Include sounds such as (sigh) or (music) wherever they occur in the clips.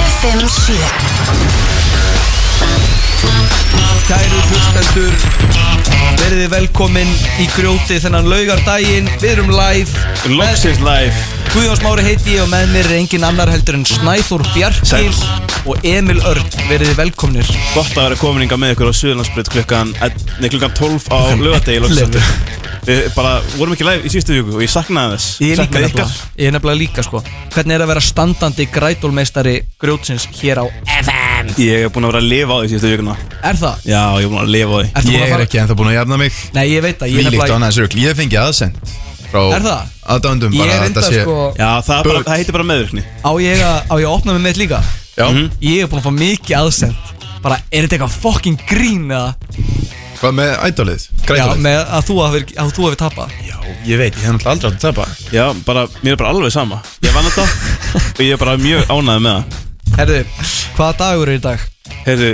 5-7 Kæru hlustendur, verðið velkomin í grjóti þennan laugardaginn, við erum live Loksins live Guðjón Smári heiti ég og með mér er engin annar heldur en Snæþór Bjarkil og Emil Örn, verðið velkomnir Gott að vera komin inga með ykkur á Suðurlandsbreyt klukkan, ell- nei, klukkan 12 á lögadegi loksins 11. aftur. Við bara vorum ekki live í síðustu viku og ég saknaði þess Ég er líka Saknaði nefnilega, ég er nefnilega líka sko Hvernig er að vera standandi grætólmeistari grjótsins hér á FM? Ég er búin að vera að lifa á því síðustu vikuna Er það? Já, ég er búin að lifa á því Ertu búin að Ég er fara- ekki ennþá búin að jafna mig Nei, ég veit að ég er Vílíkt og nefnilega annað sörgl Ég fengi aðsend frá Er það? um aðdáendum Ég bara er að þetta enda sé- sko Já, það, er bara, But- það heitir bara meðvirkni Mhm. Á ég að á ég að opna mig með líka? Já, Ég er búin að fá mikið aðsend Bara, er þetta eitthvað fucking grín eða? hvað með ædólið? Já, Grætólið? með að þú hafi, að þú hafi tapað Já, ég veit, ég hef náttúrulega aldrei átt að tapa Já, bara, mér er bara alveg sama Ég vann þetta og ég er bara mjög ánægð með það Herðu, hvaða dagur er í dag? Heyrðu,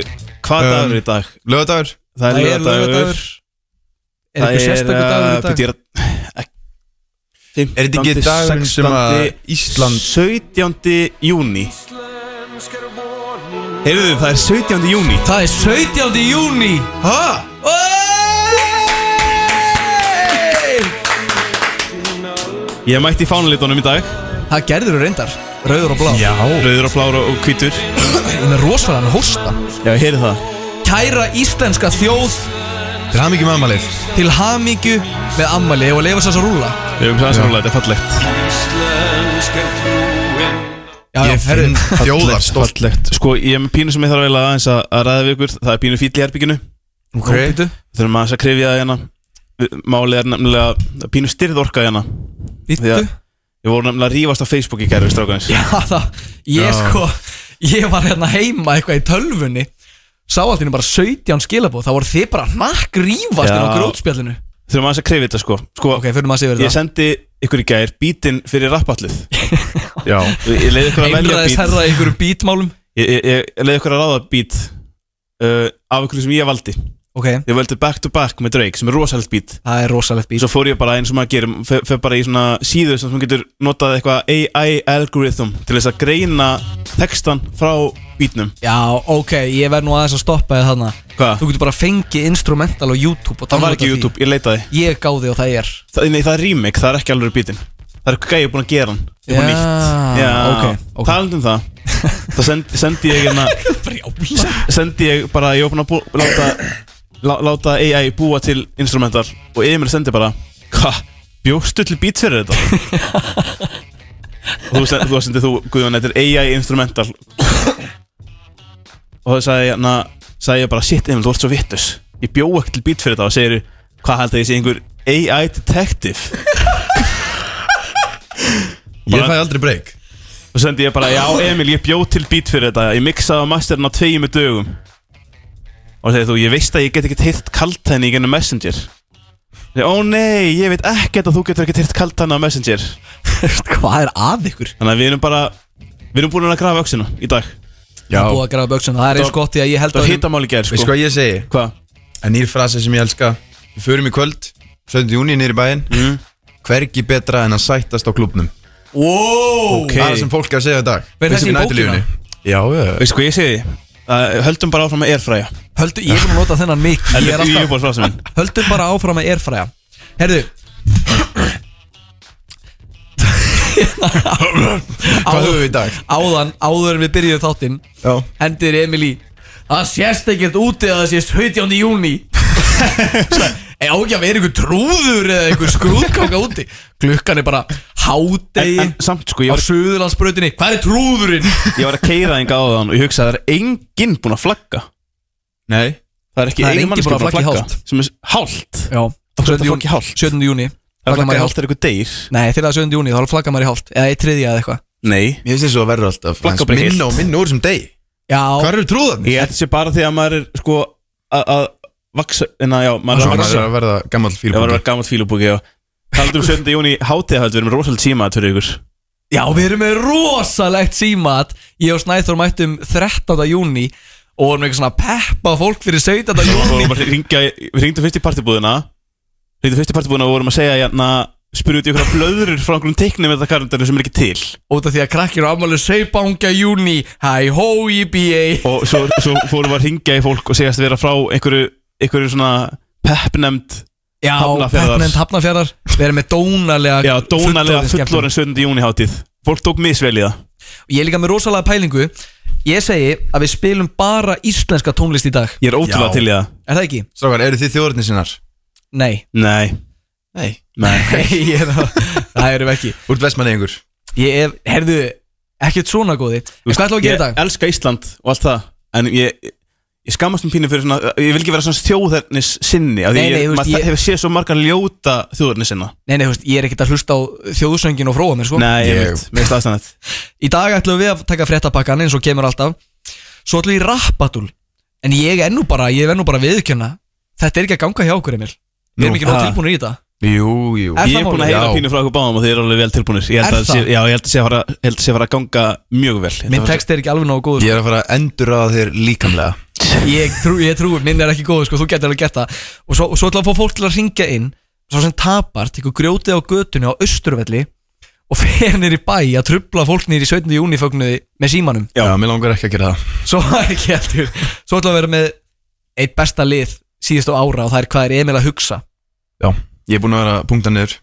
hvað Um, dagur er í dag? Lögadagur? Það er lögadagur Er eitthvað sérstakur uh, uh, dagur í dag? dag? Er þetta ekki dagurinn sem að Ísland 17. júni Heyrðu það er 17. júni Það er 17. júni Hæ? Ég mætti í fánalitunum í dag Það gerður þú reyndar Rauður og blá Já Rauður og blár og og hvítur Ég er með rosalega hósta Já, heyrðu það Kæra íslenska þjóð Til hafði mikið mammalið til hamingju með ammali Ég var að leifa sér að rúla Við erum sæðan samlega, þetta er fallegt Já, já, Ég herðu finn þjóðarstolt Fallegt Sko, ég er með pínu sem ég þarf að veila aðeins að að ræða við ykkur Það er pínu fýll í herbyginu Ok, býtu, Þurfum aðeins að krifja það hérna Við- Málið er nefnilega það er pínu styrðorka hérna Því býtu að Ég voru nefnilega að rífast á Facebook í gerfi strákaðins (laughs) Já, það, ég Já. sko Ég var hérna heima eitthvað í tölvunni Sá allt hérna bara 17 skilabóð Það voru þið bara nakk rífast Já. inn á grótspjallinu Þurfum aðeins að krifja þetta sko Sko, Ok, fyrir maður að segja ég verið það sendi ykkur í gær bítinn fyrir (laughs) rappallið Já Ég leiði ykkur að velja Einræðis bít herra í einhverjum bítmálum Ég, ég, ég leiði ykkur að ráða bít uh, Af ykkur sem ég valdi Ok, Ég valdi back to back með Drake sem er rosalegt bít það er rosalegt bít Svo fór ég bara eins og maður gerir fer, fer bara í svona síðu sem maður getur notað eitthvað AI algorithm Til þess að greina textan frá bítnum Já, ok, ég verð nú aðeins að stoppa þið þarna Hvað? Þú getur bara að fengi instrumental á YouTube og Það var downloada ekki því. YouTube, ég leitaði Ég gáði og það (laughs) er það, Nei, það er remake, það er ekki alveg bítinn Það er gæði búin að gera hann Það er bara Já, nýtt ok, ok. Talandi um (laughs) það Það sendi, sendi ég hérna Brjála (laughs) Sendi ég bara, ég opna að bú- láta, lá, láta AI búa til instrumentar Og Emil sendi bara Hva? Bjóstu til beats (laughs) fyrir þetta? og þú, send, þú sendi þú, Guðjón, þetta er AI instrumental Og það sagði ég, na, sagði ég bara Shit Emil, þú ert svo vittus Ég bjó ekki til beats fyrir þetta og segir Hvað held að ég sé einhver AI detective? Ég fæ aldrei break Svo sendi ég bara, já Emil, ég bjóð til beat fyrir þetta Ég mixaði á masterinn á tveimu dögum Og segir þú, ég veist að ég get ekkert hýrt kalt henni í gennum Messenger Ég segi, Ó nei, ég veit ekkert að þú getur ekkert hýrt kalt henni á Messenger Hvað er að ykkur? Þannig að við erum bara, við erum búin að grafa öksina í dag Já Búið að gera böksum, það er eins Það- gott í að ég held Það að var hittamáli gerð, Veist sko hvað ég segi? Hvað? En nýr frasi sem ég elska Við förum í kvöld 17. júni nýri bæinn Mhm. Mm. Hvergi betra en að sættast á klubnum Wow Ok. Það er það sem fólk er að segja í dag Verður Veistu þetta í við næturlífinu? Já, já, já. Veist hvað ég segi? Uh, höldum bara áfram að erfræja Höldu, ég er búin að nota þennan mikið Þetta Ég er er alltaf yfirbúið frásum minn Höldum bara áfram að erfræja Herðu Hvað höfum Áður, við í dag? áðan, áður en við byrjuðum þáttinn Já Hendir Emil í Það sést ekkert úti að það sést 17. júni Ég e, á ekki að vera einhver trúður eða einhver skrúðkanga úti Klukkan er bara hádegi En samt, sko, á ég var, Suðurlandsbrautinni Hvað er trúðurinn? ég var að keira enga áðan Og ég hugsaði, það er enginn búin að flagga Nei Það er ekki Það er engin eigin mannskjöfn búin að að flagga í flagga hálft. Sem er hálft Já, Af hverju 17. er þetta flagg júni í hálft? 17. júni Það Flaggar er maður í hálft hálft er eitthvað deyr Nei, þegar það er 7. júni þá flaggar maður í hálft Eða í þriðja eða eitthvað Nei Mér finnst þess að verður alltaf Flakka aðeins bara heilt. Minna og minna úr sem deg Já, Hvað eru trúðarnir? Ég held þessi bara því að maður er sko að að vaksa, en að já, maður er Svo að maður vaksa er að verða gammal Ég var að fílbúki vera gammalt fílubúki og Haldum 7. júni um hátíðahöld, við erum rosalega tíma fyrir ykkur já, við erum með rosalegt símat Ég og Snæþór mættum 13. júni Og erum eitthvað svona að peppa fólk fyrir 17. Og júni maður ringja, við ringdum fyrst í partibúðina Ringdum fyrst í partibúðina og vorum að segja hérna spyrja út í einhverja blöðurur frá einhverjum teiknum eða karandarum sem er ekki til Út af því að krakkir á afmæli Seibanga júni Hæ hó í B.A. og svo, svo fórum við að ringja í fólk og segjast vera frá einhverju, einhverju svona peppnemnd Já, Hafnarfjarðar. Petnend Hafnarfjörðar Við erum með dónalega já, dónalega fullorðinsskemmtun. fullorinn 17. júni hátíð fólk tók misvel í það Ég er líka með rosalega pælingu Ég segi að við spilum bara íslenska tónlist í dag ég er ótrúlega Já. til í það Er það ekki? Strákar, eru þið þjóðarni sinnar? Nei nei, Nei nei (laughs) Nei, ég er það Það erum við ekki Úr vestmanni einhver Ég er, herðu, ekkert svona góði En hvað ætlum við að gera í dag? Ég elska Ísland og allt það En ég, ég skammast mér pínu fyrir svona Ég vil ekki vera svona þjóðarnis sinni Því Nei, nei, ég, þú veist, maður ég- hefur séð svo margar ljóta hérna. þjóðarnis sinna Nei, nei, þú veist, ég er ekkert að hlusta á þjóðsöngin og fróa mér, sko Nei, ég Ég- veit, mér finnst aðstæðan Í dag ætlum við að taka fréttapakkan eins og kemur alltaf Svo ætlum við í rappatúl En ég er nú bara, ég er nú bara viðkjörna Þetta er ekki að ganga hjá okkur, Emil Við erum Nú, ekki nóg ha. tilbúinir í þetta Jú, jú Er Ég það er búin málið? að heyra Já. pínu frá okkur báðum og þið eru alveg vel tilbúinir Ég Er held að það? sé- já, ég held að sé að fara- held að sé að fara að ganga mjög vel Þetta Minn var- text er ekki alveg nógu góður sko. Ég er að fara að endurraða þér líkamlega Ég trú, ég trú, minn er ekki góð sko, þú getur alveg gert það og svo, og svo ætla að fá fólk til að ringja inn svo sem tapar, tekur grjótið á götunni á austurvelli og fer nýr í bæ að trubla fólk nýr í 17. júni fögnuði með símanum, Já. Já, mér langar ekki að gera það svo (laughs) ekki heldur svo ætla að vera með eitt besta lið síðust á ára og það er hvað er Emil að hugsa Já Ég er búin að vera punktan niður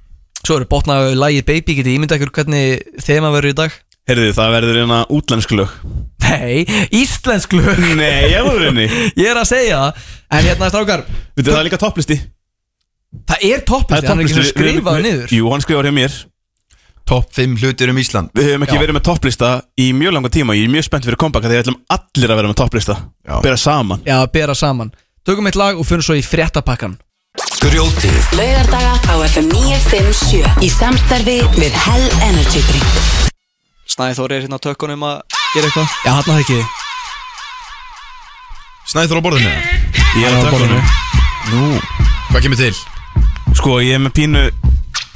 svo eru botnaðu lagið Baby, getið ímynda ykkur hvernig þema verður í dag? Heyrðu, það verður hérna útlensk lög Nei, íslensk lög Nei, ég voru henni ég er að segja það, en hérna strákar Vitið, það er líka topplisti það er topplisti, hann er ekki Við- við- skrifað við- niður Jú, hann skrifar hjá mér Topp 5 hlutir um Ísland Við höfum ekki Já. verið með topplista í mjög langa tíma Ég er mjög spennt fyrir kompaka þegar við ætlum allir að vera með topplista Já. Bera saman Já, bera saman Tökum eitt lag og fyrir svo í fréttapakkan Grjótið Laugardaga á FM 957 Í samstarfi við Hell Energy Drink Snæþóri er hérna á tökkunum að gera eitthvað Já, hann hafði ekki Snæður á borðinu eða? Ég er Hann á að taka borðinu. honum Nú Hvað kemur til? Sko, ég er með pínu,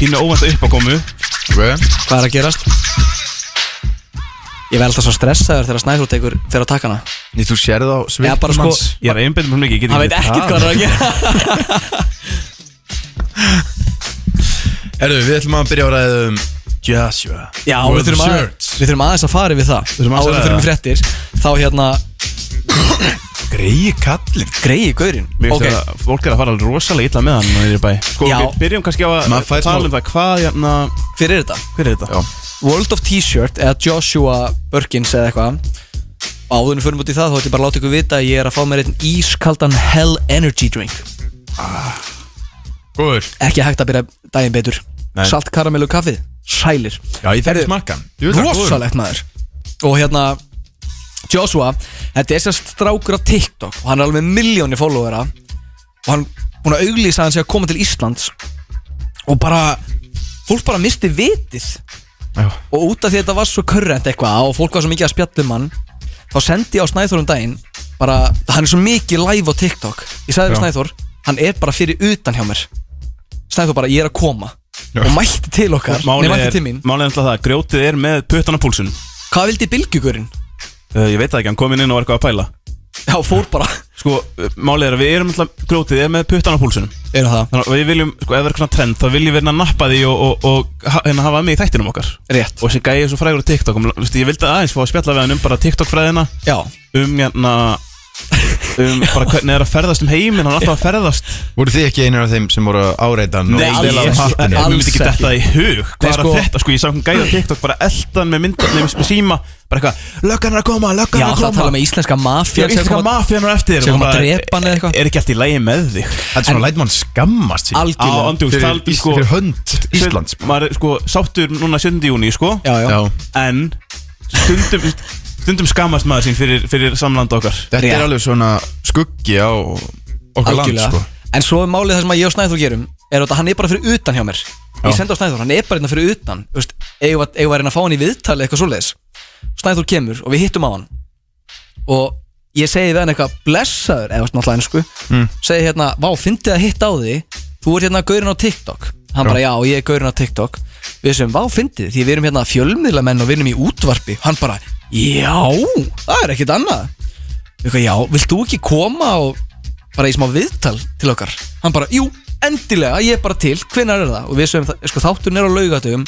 pínu óvænt uppákomu Ok Hvað er að gerast? Ég verð alltaf svo stressaður þegar Snæþór tekur fyrir að taka hana Nei, þú sér það á Já, bara svipum sko- hans Ég er að einbæta mér mikið, ég get Hann veit ekkert hvað hann er að gera Herru, við ætlum að byrja á um- ræðum Joshua Já, World við þurfum, að, Shirts. við þurfum aðeins að fara yfir það þurfum aðeins að Áður en ræða við þurfum í fréttir Þá hérna, Greiði kallin greiði gaurinn Mér Ok, finnst okay. að fólk er að fara alveg rosalega illa með hann og niður í bæ Sko, Já. við byrjum kannski á að Maður fær tala smá- um það Hvað, hérna, hver er þetta? hver er þetta? Já World of T-shirt eða Joshua Burkins eða eitthvað Áðurinn fyrir mútið það, þá ætlum ég bara að láta ykkur vita að Ég er að fá mér einn ískaldan Hell Energy Drink Góður ekki hægt að byrja daginn betur Nei. salt karamellu kaffið, sælir Já, ég Herru, þekki smakkan Jú, það er góður. rosalegt maður og hérna Joshua, þetta er sérst strákur á TikTok og hann er alveg með miljóni followera og hann búin að auglýsa að hann sé að koma til Íslands og bara fólk bara misti vitið Já. og út af því að þetta var svo körrent eitthvað og fólk var svo mikið að spjalla um hann þá sendi ég á Snæþór um daginn bara, hann er svo mikið live á TikTok ég sagði við Já. Snæþór, hann er bara fyrir utan hjá mér Snæþór bara, ég er að koma Já. og mætti til okkar, nei Málið mætti er, til mín málið er alltaf það, að grjótið er með puttan á púlsun hvað vildi bylgjugurinn? uh, Ég veit það ekki, hann kom inn og var eitthvað að pæla Já, fór bara, Sko, uh, málið er að við erum alltaf, grjótið er með puttan á púlsunum einu það, Þannig að við viljum, sko, ef það er eitthvað trend, þá viljum við hérna nappa því og, og, og ha- hérna hafa mig í þættinum okkar rétt og sem gæði svo frægur á TikTok um, veistu, ég vildi aðeins fá að spjalla við hann um bara TikTok fræðina já, um hérna um bara hvernig er að ferðast um heiminn hann er alltaf að ferðast Voru þið ekki einar af þeim sem voru áreitan Nei, og alls stela ekki. pappinu? Mér Alls myndi ekki ekki. þetta í hug Nei, Hvað er sko- að þetta sko, ég sá hann gæði á TikTok bara eldan með mynda, nefnist með síma bara eitthvað, löggan er að koma, löggan já, er að það tala um- koma með íslenska Já, mafja íslenska mafían er á eftir sem og kom að bara, drepa hann eða eitthvað. Er ekki allt í lægi með þig? Þetta er svona læt mann skammast sín Á algjörlega, andjúks, Fyrir, taldi Ís- sko fyrir hönd Íslands Sveinn, Maður er sko, sáttur núna 7. júni, sko já, já, Já En stundum, stundum skammast maður sín fyrir, fyrir samlanda okkar Þetta Rétt. er alveg svona skuggi á okkar land algjörlega sko en svo er málið það sem að ég og Snæþór gerum er að hann er bara fyrir utan hjá mér ég Já. sendi á Snæþór, hann er bara hérna fyrir utan Þú veist, eigum við að- eigum við að reyna að fá hann í viðtali eitthvað svoleiðis Snæþór kemur og við hittum á hann og ég segi við hann eitthvað blessaður, eða þú veist, náttúrulega ennsku segi hérna, vá, fyndið að hitta á því þú ert hérna gaurinn á TikTok hann bara, já, ég er gaurinn á TikTok við sem, vá, fyndið, því við erum hérna fjölmiðlamenn og við erum í útvarpi, hann bara já, það er ekkit annað Eitthvað, já, vilt þú ekki koma og bara í smá viðtal til okkar? Hann bara, jú, endilega, ég er bara til, hvenær er það og við sögum, það- sko, þátturinn er á laugatum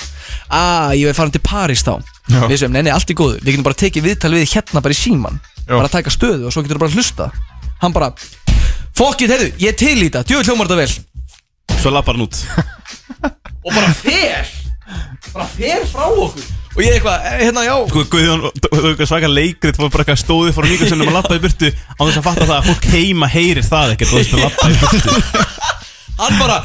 að ég er farin til París þá Já. við sögum, nei, nei, allt í góðu, við getum bara tekið viðtal við þig hérna bara í síman, Já. bara að taka stöðu og svo getur þú bara að hlusta hann bara, fokkið, heyrðu, ég er til í þetta djúið hljómar þetta vel Svo lappar hann út og bara fer bara fer frá okkur og ég eitthvað, eh, hérna, já, Sko, Guðjón, þú þú veist svaka leikrit fór bara eitthvað stóðið fór mjög sem að lappa í burtu á þess að fatta það að fólk heima heyrir það ekkert þú veist að lappa í burtu hann bara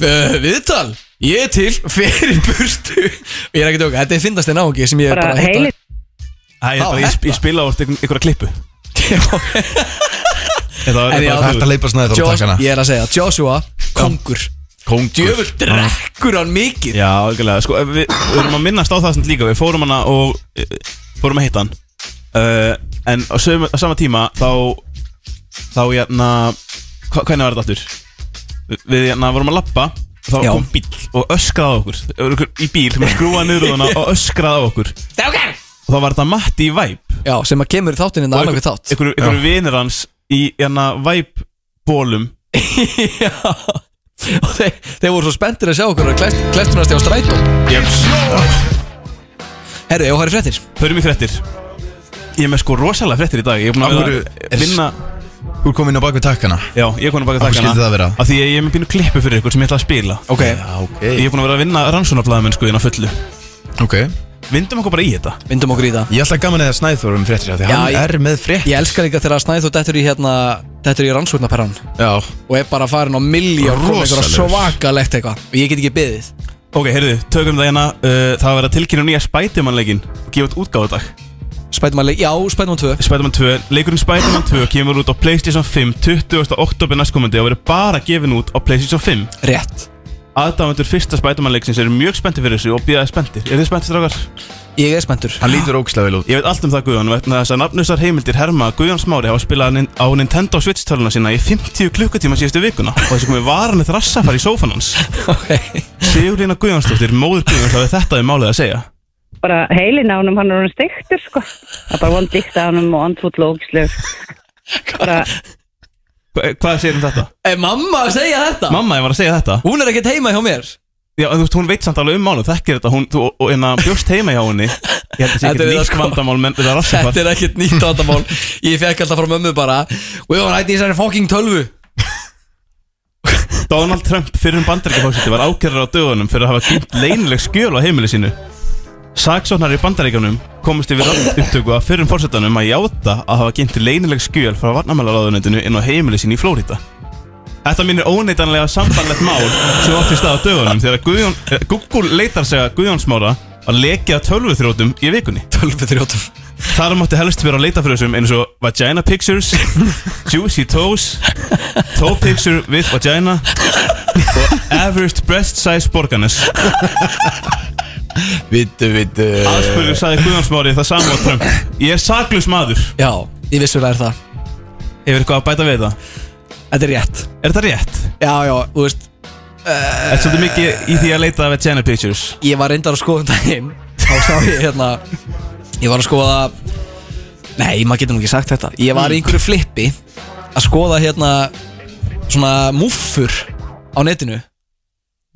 "Eh, viðtal, ég er til fer í burtu og ég er ekki tjóka, þetta er fyndast en áhengi sem ég er bara bara að hitta- (laughs) heilir Æ, ég, bara, ég, sp- ég spila á einhver, einhverja klippu Þetta var En já, þetta var- Þetta leipast næður þá Jos- um takkana ég er að segja, Joshua, kongur Kóngur djöfur drekkur hann mikið Já, algjörlega, sko, við, við erum að minnast á það samt líka Við fórum hana og e, fórum að hitta hann uh, En á, sömu, á sama tíma þá Þá, hérna, hva, hvernig var þetta aftur? Við, við hérna, vorum að labba og Þá Já. kom bíl og öskraði á okkur Það var einhver Í bíl, sem skrúaði niður hana og öskraði á okkur Strákar! Og þá var þetta Matti í Væp já, sem að kemur í þáttin en annað við þátt Einhverju einhverju vinir hans í, hérna, Væp bólum já og þeir, þeir voru svo spenntir að sjá okkur að klest, klestunast á strætó Jöps herru, ég var í fréttir Förum í fréttir Ég er með sko rosalega fréttir í dag Ég er búin Af að hverju vera- er- vinna Þú er komin á bakvið takkana Já, ég er komin að baka Af hverju takkana skyldi það vera? Af því að ég er með pínu klippu fyrir ykkur sem ég ætla að spila ok, ok Ég er búin að vera að vinna rannsónarblæðamenn sko inn á fullu Ok Vindum okkur bara í þetta vindum okkur í það Ég ætla gaman eða Snæþór um fréttir af Því Já, hann ég- er með frétt Ég elska líka þegar að Snæþór dettur í hérna dettur í rannsóknarperran Já og er bara farin á milli og kom eitthvað Rosalegur. svakalegt eitthvað og ég get ekki beðið Ok, heyrðu, tökum það hérna uh, Það var að tilkynna nýja Spiderman-leikin og gefa út útgáðadag Spætumann, já, Spætumann 2 Spiderman 2, leikurinn Spiderman 2 kemur út á Playstation 5 20. oktober næstkomandi og verður bara gefin út á Playstation 5 Rétt Aðdáðandur fyrsta Spiderman-leiksins eru mjög spennti fyrir þessu og býðaði spenntir Er þið spenntir strákar? Ég er spenntur Hann lítur ókslega vel út Ég veit allt um það Guðjón vegna þess að nafnusar heimildir herma að Guðjón Smári hafa spilað nin- á Nintendo Switch töluna sína í 50 klukkutíma síðustu vikuna og þessi komið varanlegt rassafar í sófan hans okay. Sigurlína Guðjónsdóttir, móður Guðjóns hafi þetta við málið að segja bara heilin á honum, hann er hann steiktur sko. það er bara vond dikta á honum og andfúll og ógisleg bara, Hva, Hvað segir um þetta? Er mamma að segja þetta? Mamma, ég var að segja þetta Hún er ekkert heima hjá mér Já, en þú veist, hún veit samt alveg um málið, þekkir þetta hún, þú, og en að bjóst heima hjá henni Ég held að Þetta segja er ekki það, nýtt sko. vandamál menn þetta Þetta rassafar er ekkert nýtt vandamál Ég fekk alltaf frá mömmu bara We were right in þessari fucking tölvu Donald Trump fyrir um bandaríkjafósiti var ákjörður á dögunum fyrir að hafa kynnt leynileg skjöl á heimili sínu. Saksóknar í bandaríkjunum komist yfir upptöku að fyrir um fórsetanum að játa að hafa kynnt leynileg skjöl frá varnamælaráðunendinu inn á heimili sínu í Flórida. Þetta minnir óneitanlega sambanlegt mál sem átti stað á dögunum þegar Guðjón, eh, Google leitar sig að Guðjónsmára að lekja tölvuþrótum í vikunni. Tölvu þrjóttum Þar mátti helst vera að leita fyrir þessum eins og vagina (laughs) pictures, juicy toes, toe picture with vagina og average breast size borganes. Vittu, vittu Aðspurður sagði Guðjónsmári það sama á Trump. Ég er saklaus maður. Já, ég vissulega er það Hefur eitthvað að bæta við það? Þetta er rétt Er þetta rétt? Já, já, þú veist Þetta er Eh. svolítið mikið í því að leita vagina pictures. Ég var reyndar að skoða um daginn Þá sá ég hérna Ég var að skoða Nei, maður getur nú ekki sagt þetta Ég var í einhverju flippi Að skoða hérna Svona múffur Á netinu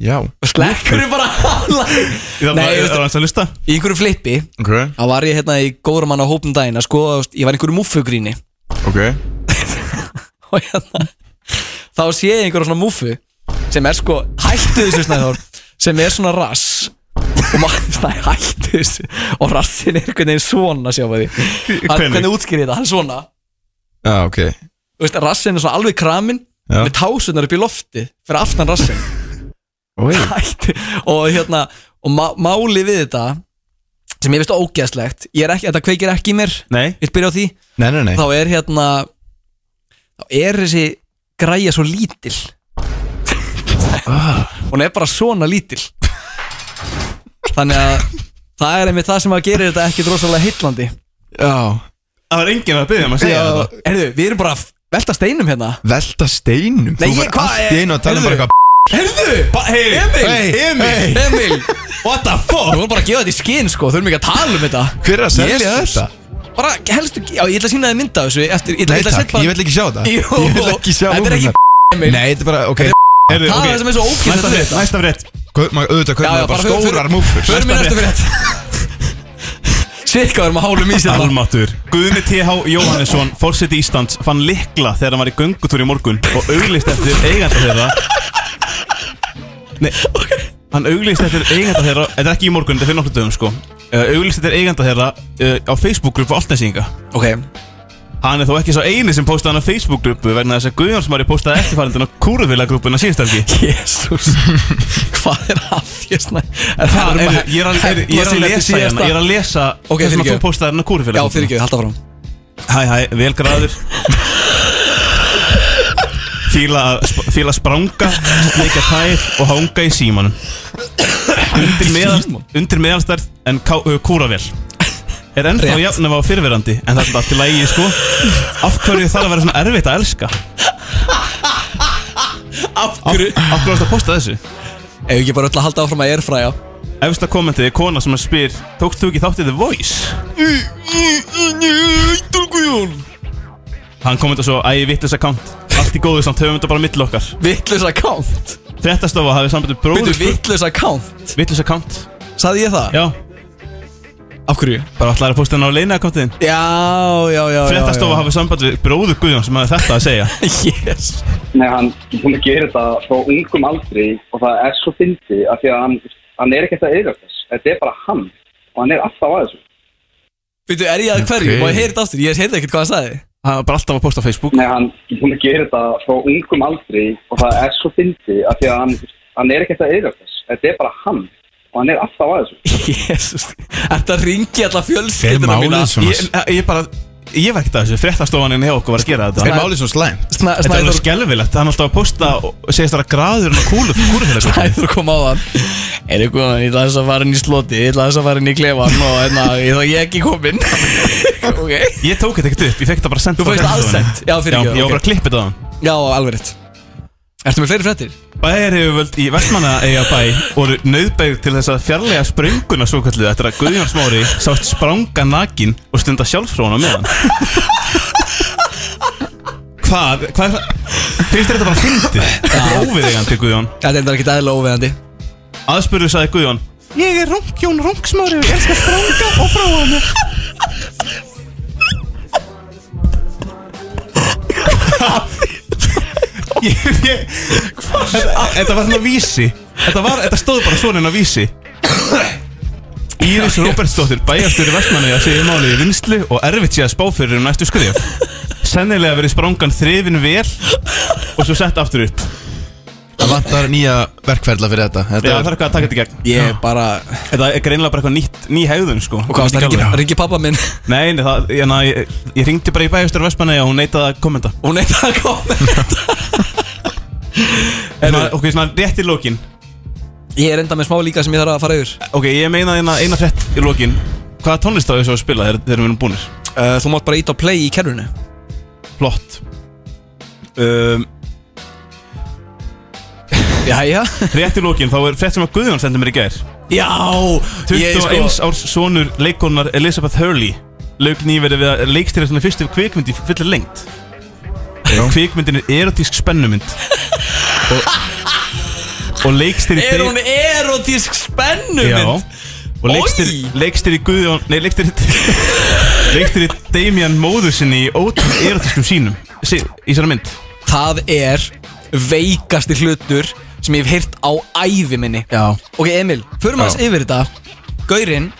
Já Slekkur bara Nei, ég Það var það veist- var hans að lista. Í einhverju flippi Ok þá var ég hérna í góður manna hópum daginn að skoða, þú veist, ég var í einhverju múffugríni Ok (laughs) og hérna þá sé ég einhverja svona múfu sem er sko, hættu þessu snæður sem er svona rass og maður (laughs) snæ, hættu þessu og rassin er einhvern veginn svona sjá maður því hann, Hvernig? hvernig útskýri ég þetta, hann er svona Já, ok Þú veist, rassin er svona alveg kramin Já. með tásunar upp í lofti fyrir aftan rassin Oi. hættu og hérna, og má, máli við þetta sem ég veist ógeðslegt ég er ekki, þetta kveikir ekki í mér Nei. ég vil byrja á því Nei, nei, nei þá er hérna þá er þessi græja svo lítil Ah. hún er bara svona lítil þannig að það er einmitt það sem að gera þetta ekkit rosalega heillandi Já Það var enginn að byggja um að segja þetta. Herðu, við erum bara að velta steinum hérna Velta steinum Nei, Þú ég- var hvað Allt í einu að tala um Heyrðu. bara eitthvað Herðu, Hey, Emil, Hey, Emil, hey. Emil What the fuck Við vorum bara að gefa þetta í skinn sko, þurfum ekki að tala um þetta Hver er að selja Jesus. þetta? Bara helstu, já ég ætla að sína þið mynda þessu eftir, ég ætla, Nei ætla að takk, setja bara- ég vil ekki sjá það Jú, Ég vil ekki sjá þetta er ekki Nei, þetta er bara, ok Heyrðu, Það er ok. það sem er svo ógeðslegt Næsta við frétt, þetta. Næsta frétt Kau- maður- Auðvitað kaupir maður bara förum- stórar múfur Förum í næsta (laughs) frétt Shit, hvað erum að hálum í sér þarna? Almatur Guðni T.H. Jóhannesson, fórseti Íslands fann likla þegar hann var í göngutúr í morgun og auglist eftir eiganda þeirra Nei, hann auglist eftir eiganda þeirra Þetta er ekki í morgun, þetta er fyrir nokkru dögum sko uh, Auglist eftir eiganda þeirra uh, á Facebook-grúpu Altnæsinga Ok, Hann er þó ekki sá eini sem postaði hann á Facebook-grúpu vegna þess að Guðjónsmári postaði eftirfærendin á Kúruvilla-grúpuna síðust helgi jésús (laughs) Hvað er að þér snæ? Það er, ég er að, er, ég er að lesa hérna, ég er að lesa Ok, það sem að fyrirgefðu. þú postaði hérna kúri fyrir Já, fyrir ekki, halda fram Hæ, hæ, vel græður Fíla, að sp- fíla að spranga, sleika tær og hanga í símanum Undir, meðal, undir meðalstærð en ká, uh, kúravel Er ennþá Rétt. jafnum á fyrirverandi En það er alltaf til lægi, sko Af hverju þarf að vera svona erfitt að elska? Af Af, af hverju varstu að posta þessu? Ef ekki bara öll að halda áfram að erfræja Efsta kommentið er kona sem að spyr Tókst þú ekki þáttið The Voice? Hann kommentar svo Æ, vittlis account Allt í góðu samt, höfum þetta bara mittl okkar Vittlösa account Frettastofa hafið samband við Býtu, bróður vittlösa account Vittlis account Saði ég það? Já, Af hverju? bara ætlaði að posta hann á leina accountin Já, já, já Frettastofa hafið samband við bróður Guðjón sem hafið þetta að segja (laughs) Yes Nei, hann er búin að gera þetta frá ungum aldri og það er svo fyndi af því að hann, hann er ekkert að eða þess. Þetta er bara hann og hann er alltaf að þessu. Býtu, er ég að hverju? Ok. Má ég heyri þetta aftur? Ég heyrði ekkert hvað hann sagði (laughs) Hann var bara alltaf að posta á Facebook Nei, hann er búin að gera þetta frá ungum aldri og það er svo fyndi af því að hann, hann er ekkert að eða þess. Þetta er bara hann og hann er alltaf að þessu. Jésus, þetta ringi alla Hver fjölskyldina málið mína svona ég, ég bara, ég var ekkert að þessu Frettastofanin hjá okkur var að gera Hver þetta málið svona slæm Snæ- Þetta er alveg Snæður skelfilegt, hann er alltaf að posta og segist það að graður hann á kúlu Kúlu fyrir þetta Snæður kom á það Er eitthvað, ég ætla þess að fara inn í sloti Ég ætla þess að fara inn í klefan og hérna, ég þá ég ekki komin (laughs) Ok Ég tók þetta ekkert upp, ég fekk þetta bara sendt Þú frá fegst Fréttastofunni. aðsent, já, Já, fyrirgefðu, ég ok. var bara að klippa þetta á hann Já, alveg rétt Ertu með fleiri fréttir? Bæjarhefuvöld í Vestmanna eiga bæ voru nöðbæg til þess að fjarlæga sprönguna svo kallu eftir að Guðjón Smári sátt spranga nakin og stunda sjálfsfrón á meðan Hvað? Hvað er það? Finnst þér þetta bara fyndið? Þetta er óviðegandi Guðjón Þetta er ekki dæðilega óveðandi Aðspurðu sagði Guðjón Ég er Rung, Jón Rungsmári og ég elska spranga og frá á mig (laughs) Ég, ég, þetta, þetta var svona vísi Þetta, var, þetta stóð bara svona inn á vísi Íris Róbertsdóttir, bæjarstjóri Vestmannaeyja segir málið í vinslu og erfitt sé að spá fyrir um næstu skrif Sennilega verið sprangan þrifin vel og svo sett aftur upp Það vantar nýja verkferðla fyrir þetta Já, Þetta það er eitthvað að taka þetta í gegn Ég bara Þetta er greinilega bara eitthvað nýtt, ný hegðun sko Og hvað, það ringi, ringi pappa minn (laughs) Nei, nei, það, ég, na, ég, ég ringdi bara í bæjastur Vestmanni og hún neitaði að kommenta Hún er það að koma (laughs) Svona- Ok, svona rétt í lokin Ég er enda með smá líka sem ég þarf að fara yfir Ok, ég meina eina, eina rétt í lokin Hvaða tónlist á þessu að spila þegar, þegar við erum búnir? uh, Þú mátt bara ít á play í kerfinu Flott um, Jæja Rétt í lokin, þá er frétt sem að Guðjón sendi mér í gær Já sko- 21 árs sonur leikonar Elizabeth Hurley lauk nýverið við að leikstýra svona fyrstu kvikmynd í fullir lengt Kvikmyndin er erotísk spennumynd og, og leikstýri Er hún erotísk Já spennumynd? Og leikstir, Oj! leikstir í Guðjón Nei, leikstir í Leikstir í Damian móður sinni í ótrú erotiskum sínum sí, Í sér mynd Það er veikasti hlutur sem ég hef heyrt á ævi minni Já Ok Emil, förum aðeins yfir þetta Gaurinn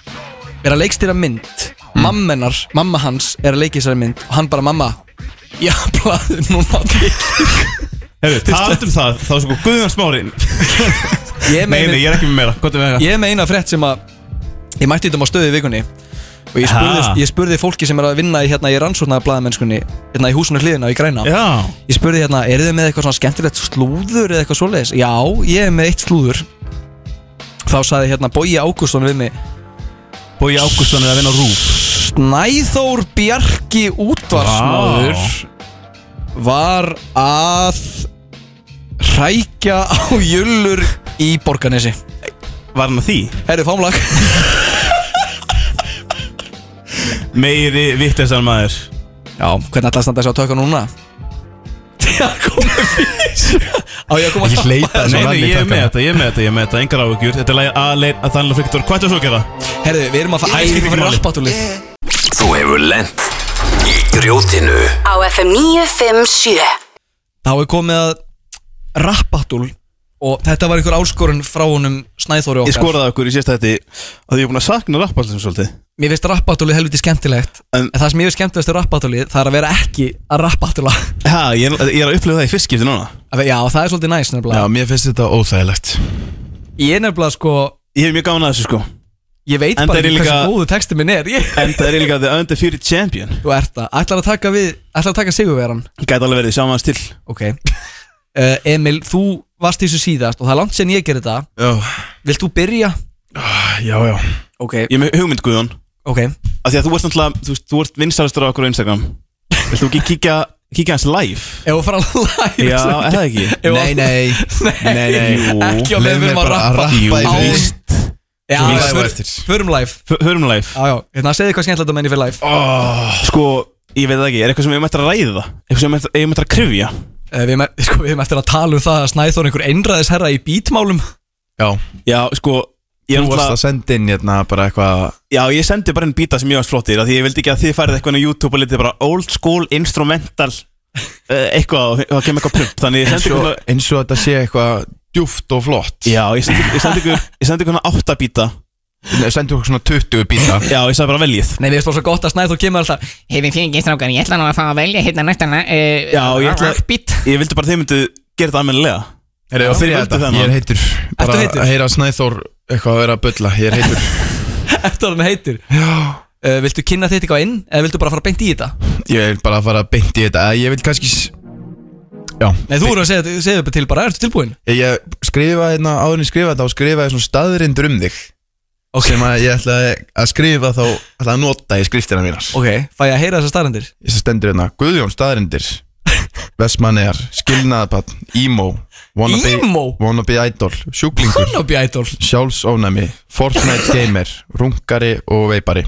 er að leikstýra mynd Mamma hennar, mamma hans er að leiki þessari mynd Og hann bara mamma Já, blaðu núna til." Hefur, talandum það, þá er sko Guðjón smári Ég Nei, nei, meina ég er ekki með meira Gott er með það Ég er með eina frétt sem að Ég mætti þetta á stöðu í vikunni Og ég spurði, Ha. ég spurði fólki sem er að vinna í, hérna, í rannsóknar blaðamennskunni Hérna í húsinu hliðina og í græna Já Ég spurði hérna, eru þið með eitthvað svona skemmtilegt slúður eða eitthvað svoleiðis? Já, ég er með eitt slúður Þá saði hérna Bói Ágússon við mig Bói Ágússon er að vinna á rúf Snæþór Bjarki útvarsmaður var að hrækja á jullur í Borganesi Var hann að því? Herru, fámlag Meiri vittlesar maður Já, hvernig ætlaði að standa þessi á tökka núna? Það komu Á ég að koma Ekki að hleypa hjálpa þér? þessu Nei, nei, manni, ég er takk með hann. þetta, ég er með þetta, ég er með þetta, engar áhugjur Þetta er lagið aðlein að þannig að Viktor, hvað er það svo að gera? Herðu, við erum að fara æfum fyrir rappatúlið Þú hefur lent í grjótinu Á FM 957 Þá er komið að rappatúl Og þetta var einhver áskorun frá honum Snæþóri Ég okkar skoraði okkur í sérst þetta að ég er búin að sakna rappallin svolítið Mér finnst rappatúlið helviti skemmtilegt En- En það sem ég finnst skemmtilegast við rappatúlið Það er að vera ekki að rappatúla Ha, ég, er- ég er að upplifa það í fyrstskipti núna Já, það er svolítið næs Já, nefnilega mér finnst þetta óþægilegt Ég er nefnilega sko Ég hef mjög gána þessu sko Ég veit Enda bara er ég ekki hversu líka- góðu texti minn er ég, En það er eiginlega the undefeated champion Þú ert það Ætlar að taka við Ætlar að taka sigurveran Gæti alveg verið samans til Ok uh, Emil, þú varst í þessu síðast Og það er langt sen ég gerði þetta Já, Vilt þú byrja? já, já Ok, Ég er með hugmynd Guðjón ok af því að þú ert náttúrulega, þú, veist, þú ert vinsalistur á okkur á Instagram Vilt þú ekki kíkja, kíkja hans live? Ef þú fara að live Já, sem- er það ekki? Ef- Nei, nei, (laughs) Nei, nei, jú. Ekki á Leyfðu meðan við mér erum að bara að rappa rappa í Á- fyrst. Já, Svo live á förum- eftir. förum live F- Förum live Já, já, hérna segðu hvað skemmtilegt að menni fyrir live uh, Sko, ég veit það ekki, er eitthvað sem ég mættir að ræða? Eitthvað sem ég mættir að krifja? Við erum (laughs) sko, við erum eftir að tala um það að Snæþór er einhver einræðisherra í bítmálum Já, Já, sko, ég er þú varst náttúrulega að senda inn hérna bara eitthvað Já, ég sendi bara einn bíta sem ég varst flottir af Því ég vildi ekki að þið færið eitthvað inn á YouTube og litið bara old school instrumental eh, eitthvað og það kemur eitthvað prump Þannig ég eins sendi og, eitthvað eins og þetta sé eitthvað djúft og flott Já, ég sendi, ég sendi eitthvað Ég sendi eitthvað átta bíta Nei, Sendu okkur svona 20 bíta Já, ég sagði bara veljið Nei, við erum svo gott að Snæþór kemur alltaf Hefði fengið strákar, ég ætla nú að fá að velja hérna næsta uh, Já, ég ætla- Rappbít Ég vildi bara að þið myndu gera þetta almennilega Herra, Já, ég byrja völdu þetta. þennan. Ég er heitur Bara heitur? að heyra Snæþór eitthvað að vera að bulla Ég er heitur Eftir að hann heitir Já uh, Viltu kynna þetta eitthvað inn eða viltu bara fara beint í þetta? Ég vil bara fara beint í þetta Eða Ég vil kannski s- Já Nei, þú eru að segja, segja upp til bara, ertu tilbúin? Ég- Ég skrifaði hérna áður en ég skrifaði þetta Þá skrifaði ég svona staðrindur um þig okay. Sem að ég ætlaði að skrifa þá Ætlaði að nota í skriftina mínas Ok, fæ ég að heyra þessar staðrendir Ég stendur hérna Guðjón staðrindir (laughs) Vestmannegar Skilnaðabann Emo Wannabe Emo? Wannabe idol Sjúklingur Wannabe idol sjálfsónæmi, Fortnite gamer, rungari og veipari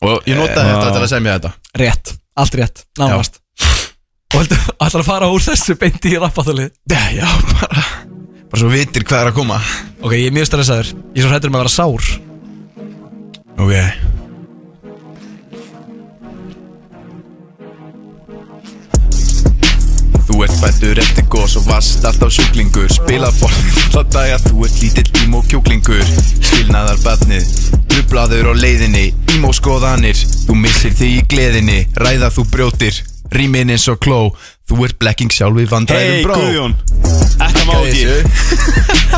og ég notaði þetta til að semja þetta Rétt, allt rétt, nánast Og heldur, ætlar að fara úr þessu beint í rappatalið Eh, já, bara bara svo vitir hvað er að koma Ok, ég er mjög stressaður Ég er svo hættur um að vera sár ok Þú ert fættur eftir gos og vast alltaf sjúklingur Spila (laughs) borðið þá daga, þú ert lítill ímó kjúklingur Skilnaðar badnið, drublaður á leiðinni Ímó skoðanir, þú missir þig í gleðinni Ræða þú brjótir, rýmin eins og kló Þú ert blekking sjálf í vandræðum Hei bró Guðjón Þetta má ekki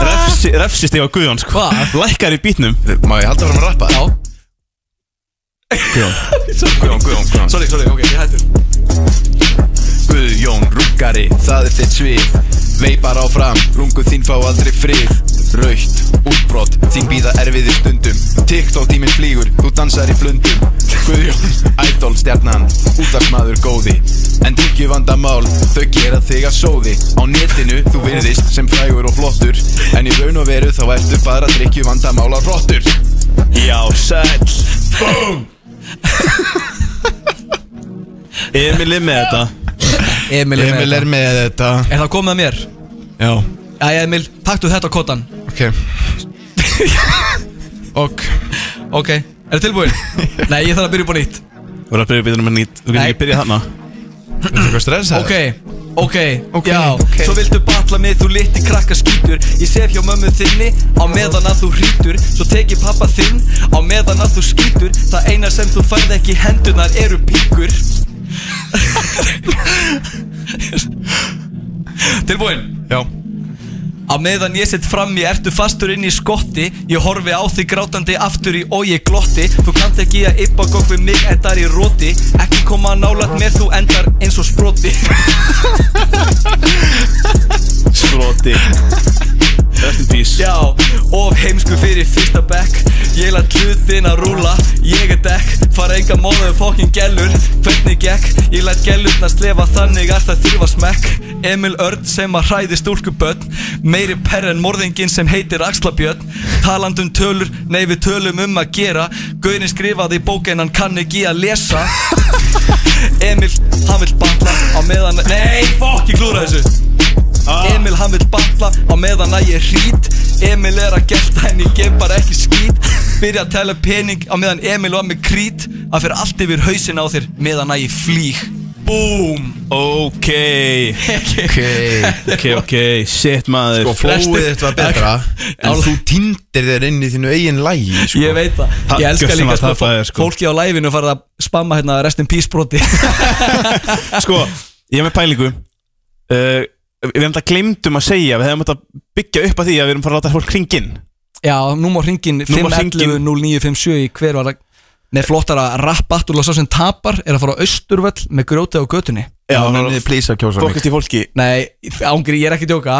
Refsi- Refsist ég á Guðjón sko Hvað? Lækkar í bítnum Má ég halda fram að rappa? Já Guðjón Guðjón, Guðjón, Guðjón Sorry, sorry, ok, ég hættur Guðjón Rúkari, það er þitt svið Veipar áfram, lungu þín fá aldrei frið Raukt, útbrott, þín býða erfiðir stundum TikTok tíminn flýgur, þú dansar í blundum Guðjón, idol stjarnan, útdagsmaður góði En drikju vandamál, þau gera þig að sóði Á netinu, þú virðist sem frægur og flottur En í raun og veru þá ertu bara drikju vandamál á rottur Já, sæll Boom Emil er með þetta Emil er með þetta. með þetta Er það komið að mér? Já, Jæja Emil, taktu þetta á kottan (laughs) ok Ok Ok, er það tilbúin? Nei, ég þarf að byrja upp á nýtt Þú er að byrja bítnum en nýtt Þú getur Nei. ekki byrjað þarna Þú veist hvað Ok, ok, Ok, já ok. Svo viltu batla mig, þú liti krakka skítur Ég sef hjá mömmu þinni á meðan að þú hrítur Svo teki pappa þinn á meðan að þú skítur Það eina sem þú færð ekki í hendunar eru píkur (laughs) Tilbúin Já Á meðan ég sett fram í ertu fastur inn í skotti Ég horfi á þig grátandi aftur í og ég glotti Þú kannt ekki að yppa gokk við mig endar í róti Ekki koma nálat mér þú endar eins og sproti Sproti Rest in peace Já, of heimsku fyrir fyrsta bekk Ég læt hlutin að rúla, ég er dekk Fara enga móðuðu fokkin gellur, hvernig gekk Ég læt gellurna slefa þannig að það þýfa smekk Emil Örn sem að hræði stúlkubönn Meiri perr en morðingin sem heitir Axlabjörn Talandum tölur, nei við tölum um að gera Gaurin skrifaði í bók en hann kann ekki að lesa Emil, hann vill batla á meðan Nei, fokk, ég klúra þessu Emil hann vill batla á meðan að ég hrít Emil er að gelta en ég gef bara ekki skít Byrja að tala pening á meðan Emil var með krít Það fer allt yfir hausin á þér meðan að ég flýg Búm Ok, Ok (laughs) Ok. (laughs) ok, ok, shit maður Sko flóið þetta var betra En þú týndir þér inn í þínu eigin lægi sko. Ég veit það, Ha, ég elska gjörsamlega líka sko, það fæðir, sko. fólki á læfinu farið að spamma hérna restin písbroti Sko, ég er með pælingu uh, Við erum þetta glemdum að segja Við hefum þetta byggja upp að því að við erum fara að láta fólk hringin (laughs) Já, nú má hringin Nú má hringin. 511-0957 í hver var að Nei, flottara rappbattul og sá sem tapar er að fara á Östurvöll með grjótið á götunni Já, menn þið plýsa kjósa mig Fólkast í fólki Nei, ángri, ég er ekki að djóka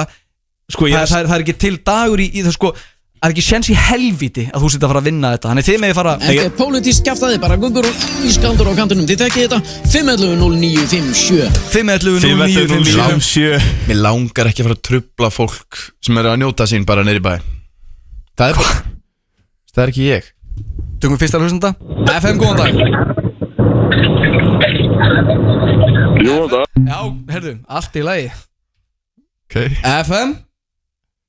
Sko, ég það, það, er, það er ekki til dagur í, í það sko Það er ekki séns í helviti að þú sitt að fara að vinna þetta Þannig þið megið fara Þetta er pólitísk kjaftaði, eh, bara gubbur og ískaldur á kantunum. Þið tekkið þetta 511-0957. 511-0957 Mér langar ekki að fara að trubla fólk sem eru að njóta sín bara neyri bæ Það er bara Það er ekki ég Tökum fyrsta hlustanda FM, góðan dag Jú, góðan dag Já, herðu, allt í lagi okay. FM,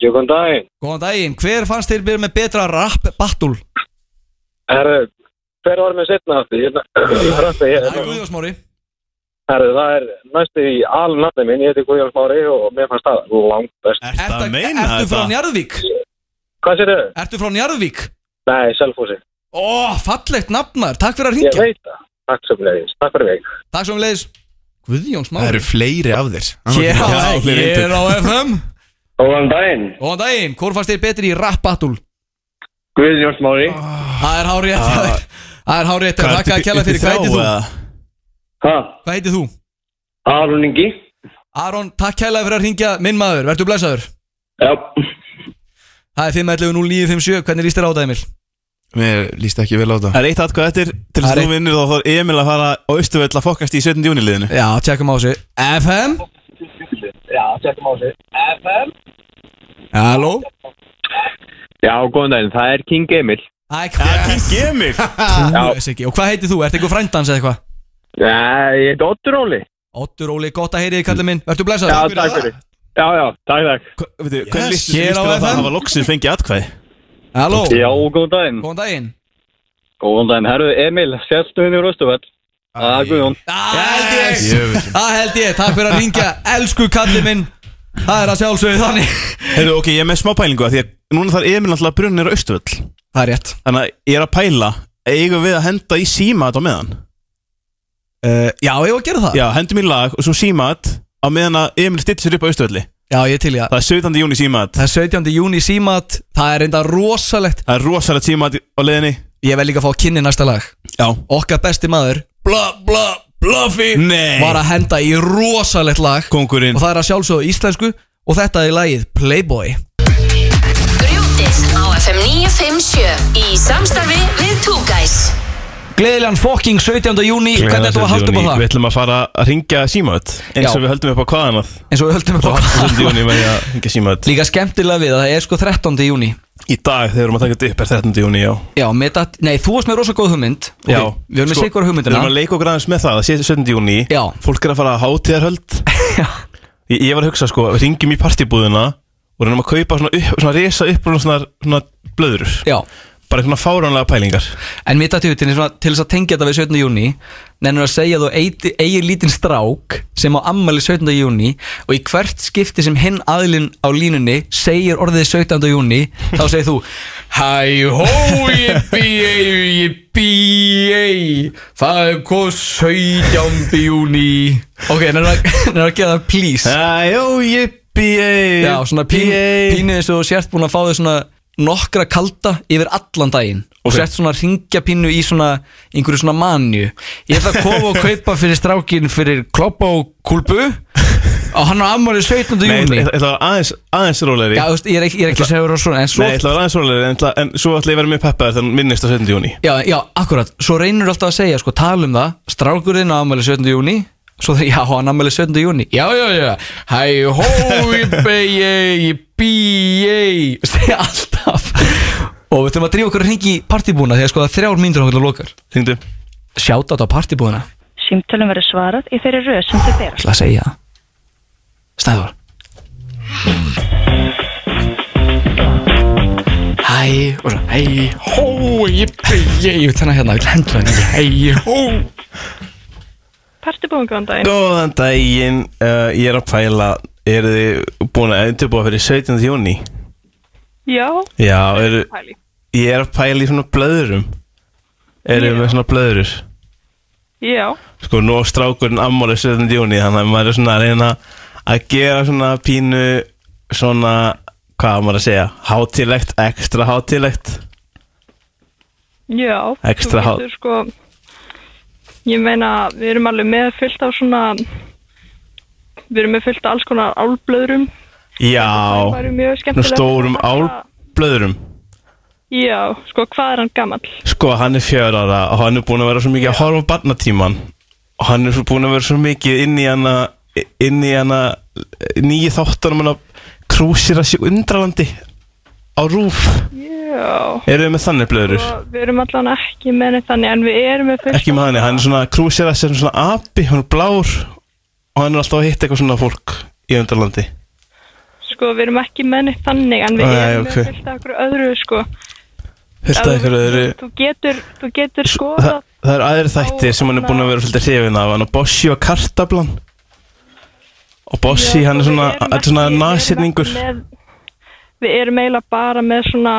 Jú, góðan daginn. góðan daginn Hver fannst þér byrja með betra rap battle? Herru, hver var með setna aftur? (clears throat) Hérna, hröndi Það hér. er Guðjósmári Herru, það er næstu í alnafni minn. Ég heiti Guðjón Smári og mér fannst það langt best. Er það að meina Ertu frá þetta? Njarðvík? Hvað sér þau? Ertu frá Njarðvík? Nei, Selfossi. Ó, fallegt nafnar, takk fyrir að Ég ringja veit það. Takk sem leiðis. Takk fyrir mig. Takk svo um leiðis Það Guðjónsmári eru fleiri af þér Hér á, Já, fleiri ég er á FM Góðan daginn. Góðan daginn, hvort fannst þér betri í rap battle? Guðjón Smári. Ah. Það er hárið Það er hárið þetta, þakka að kjalla fyrir Ah. Hvað heitir þú? Ha, Hvað heitir þú? Arun Ingi. Aron, takk kælega fyrir að ringja minn maður, verður blæsaður Já. Það er 511 0957, hvernig líst þér á það Emil? Mér líst ekki vel á það Það er eitt atkvæð eftir Til Það þess er að þú vinnur þá þarf Emil að fara á Östuvöll að fokast í 17. júni liðinu Já, tjekkum á þessu FM? Já, tjekkum á þessu. FM. Halló? Já, góðan daginn. Það er King Emil. Æ, King Emil hvað er ekki Og hvað heitir þú? Ertu eitthvað frændans eða eitthvað? Já, ég heiti Ottur Óli. Ottur Óli, gott að heyri þig kallið minn, verður blæsaður? takk fyrir. Já, já, takk, takk. Veitu, Yes, Hvernig lístur hér á lístur á það FM? að hafa loksins fengið atkvæð? Halló? Já, góðan daginn. Góðan daginn Góðan daginn. Herru, Emil, hérna sérstu henni úr Östuvall. Það er Guðjón. Það held ég, Jöfull. það held ég, takk fyrir að ringja Elsku kallið minn Það er að sjálfsögðu þannig Heyrðu, ok, ég er með smá pælingu að því að núna þarf Emil alltaf brunnir á Östuvöll Það er rétt Þannig að ég er að pæla Eigum við að henda í síma þetta á meðan? uh, Já, ég var að gera það Já, hendum í lag og svo símat á meðan að Emil stillir sér upp á Östuvölli Já, ég til ég Það er 17. júni símat Það er 17. júni símat Það er enda rosalegt Það er rosalegt símat á leiðinni Ég vel líka að fá að kynni næsta lag Já Okkar besti maður Bla bla bluffy Nei Var að henda í rosalegt lag Kongurinn Og það er að sjálfsögðu íslensku Og þetta er lagið Playboy Grjótið á FM 957 í samstarfi við Two Guys. Gleðilegan fokking 17. júni Hvernig ætlum við að halda upp á það? Við ætlum að fara að ringja símat eins Já. og við höldum upp á hvaðan að Eins og við höldum upp á það 17. júni með að ringja símat Líka skemmtilega við að það er sko 13. júni Í dag þegar við erum að taka þetta upp er 13. júni, já Já, með það Nei, þú varst með rosa góð hugmynd Já Ok, Við höfum með Sko, sigur Við erum hugmyndina að leika okkur aðeins með það að sé 17. júni Já. Fólk er að fara að hátíðarhöld (laughs) ég, ég var að hugsa sko, við ringjum í partibúðina og reynum að kaupa svona, upp, svona resa upp svona, svona, svona blöður Já Bara svona fáránlega pælingar En mitt að til þess að tengja þetta við 17. júni Nennur að segja að þú eigi, eigi lítinn strák sem á ammali 17. júni og í hvert skipti sem hinn aðlinn á línunni segir orðið 17. júni þá segir þú Hæ hó ég bí ei ég bí ei það er hvað 17. júni Ok, nennur að, (laughs) nennirðu að gera það please Æjó, jippi, ei Já, svona pín, pínu eins og þú sért búin að fá þau svona nokkra kalda yfir allan daginn og Ok. sért svona ringja pínu í svona einhverju svona manju ég ætla að koma og kaupa fyrir strákin fyrir kloppa og kulpu og hann á afmæli 17. Nei, júni ég ætla að vera aðeins, aðeins rólegri Já, þú veist, ég er ekki, ég er ekki að segja þér á svona en svo, Nei, ég ætla að vera aðeins rólegri en, ætla- en svo ætla ég að vera með peppaður þannig minnist á 17. júni já, já, akkurat svo reynir alltaf að segja, sko, tala um það strákurinn á afmæli 17. júni svo þegar, já, hann afmæli 17. júni já, já, já, hæ, hó, ég be, ég, bí, ég segja alltaf og við þurfum að drífa okkur að hringi í partibúna því að sko það er þrjár mínútur okkur lokar Hringdu sjáta á partibúna Símtölum verður svarað í þeirri röð sem þau bera. ætla að segja það Snæður Hæ, og svo Hæ, hó, jippi, ég Ég vil tenna hérna, ég vil hendur henni Hæ, hó Partibúin, góðan daginn Góðan daginn, uh, ég er að pæla Eru þið búin að undirbúa fyrir 17. júni? Já, Já, eru, að pæla í. ég er að pæla í svona blöðurum Eru þið með svona blöðurur? já Sko, nú á strákurinn ammálið 17. júni Þannig að maður er svona að reyna að gera svona pínu Svona, hvað á maður að segja? Hátilegt, ekstra hátilegt Já, Extra þú há- veitur sko Ég meina, við erum alveg með fullt af svona Við erum með fullt af alls konar álblöðrum Já, væri mjög nú skemmtilegt. stórum álblöðurum Já, sko, hvað er hann gamall? Sko, hann er fjör ára og hann er búinn að vera svo mikið að horfa á barnatíman og hann er svo búinn að vera svo mikið inn í hana inn í hana nýju þáttanum hana krúsir að sé undralandi á rúf Já Eru við með þannig blöður? Og Við erum allan ekki með neitt þannig En við erum með fullt Ekki með þannig, hann er svona krúsir að sé svona api, hann er blár og hann er alltaf að hitta eitthvað svona fólk í undralandi Sko, við erum ekki með neitt þannig En við Nei, erum ok. með fullt af okkur öðru, sko Þetta Já, eitthvað eru Þú getur, þú getur skoðað Það, það eru aðri þættir sem hann er búinn að vera svolítið hrifin af hann og Bossi og Kartablan og Bossi, hann er svona, þetta er svona nasetningur með, Við erum eiginlega bara með svona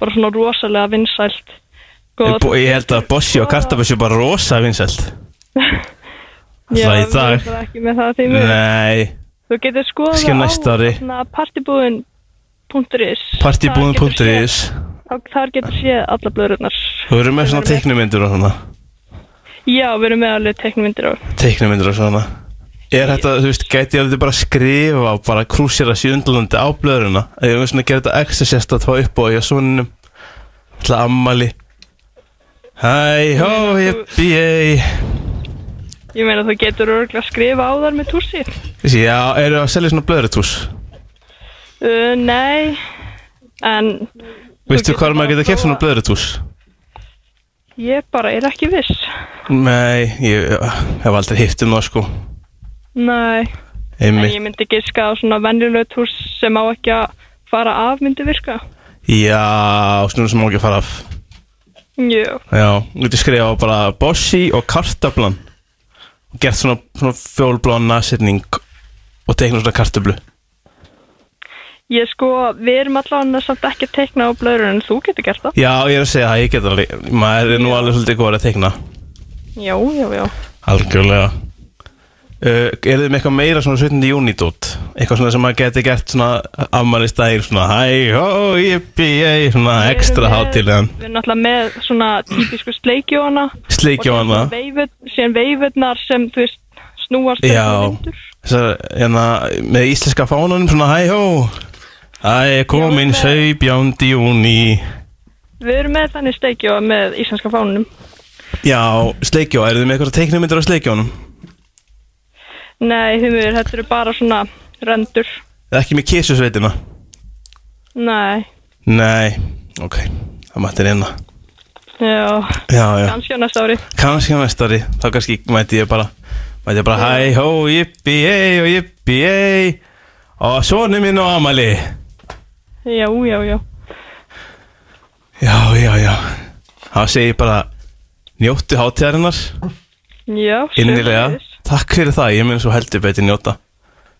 Bara svona rosalega vinsælt Ég, Góð bú- ég held að Bossi og Kartablan séu bara rosa vinsælt Já, það í við dag. erum bara ekki með það því miður. Nei, Þú getur skoðað hérna, Kannski á næsta ári. Partibúin.is partybúin.is Þar getur séð alla blöðrunnar Þú verður með svona teiknumyndur og svona Já, við erum með alveg teknumindir á Teiknumyndur og svona Er þetta, þú veist, gæti ég að þetta bara skrifa og bara krúsera sér undurlandi á blöðurina Eða ég veist svona gera þetta ekstra sérst að það upp og ég á svonunum Til að ammali Hæ, hó, hippi, ei Ég meina þú getur örgulega að skrifa á þar með túsi Já, eru að selja svona blöðurtús uh, Nei En Veistu hvað maður getur að kæft svona blöðurtús? ég bara er ekki viss Nei, ég hef aldrei hitt um það sko Nei En Einmitt ég myndi giska á svona venjulegt hús sem á ekki að fara af myndi virka Já, svona sem má ekki fara af Jú, Já, þú getur skrifað bara Bossi og kartablan og gert svona, svona fjólblá nasetning og teikna svona kartablu ég sko, við erum allavega samt ekki að teikna á blöður en þú getur gert það Já, ég er að segja það, ég get alveg maður er nú alveg svolítið góð að teikna Já, já, já algjörlega uh, Eh, Er þið með eitthvað meira svona 17. júni dót? Eitthvað svona sem maður geti gert svona ammali stæðir svona hæ, hó, jippi, ei svona Við erum ekstra með- hátilegan Við erum náttúrulega með svona típisku sleikjóana Sleikjóana. Og síðan veifut- síðan veifurnar sem, þú veist, snúast um Já, þessar, hérna, með íslenska fánanum svona hæ, hó Æ, komin 17. júni Við erum með þannig sleikjóa með íslenska fánunum Já, sleikjó, eru þið með eitthvað teiknumyndir á sleikjónum? Nei, því miður, þetta eru bara svona rendur Eða ekki með kísusveitina? Nei, Nei, ok, það hérna. mætti reyna já, Já, já, kannski á næsta ári kannski á næstari, þá kannski mætti ég bara Mætti ég bara, hæ, hó, jippi, ei, og jippi, ei Og sonu minn og amali Já, já, já Já, já, já Þá segi ég bara, njóttu hátíðarinnar Já, Innilega, takk fyrir það, ég mun svo heldur betur njóta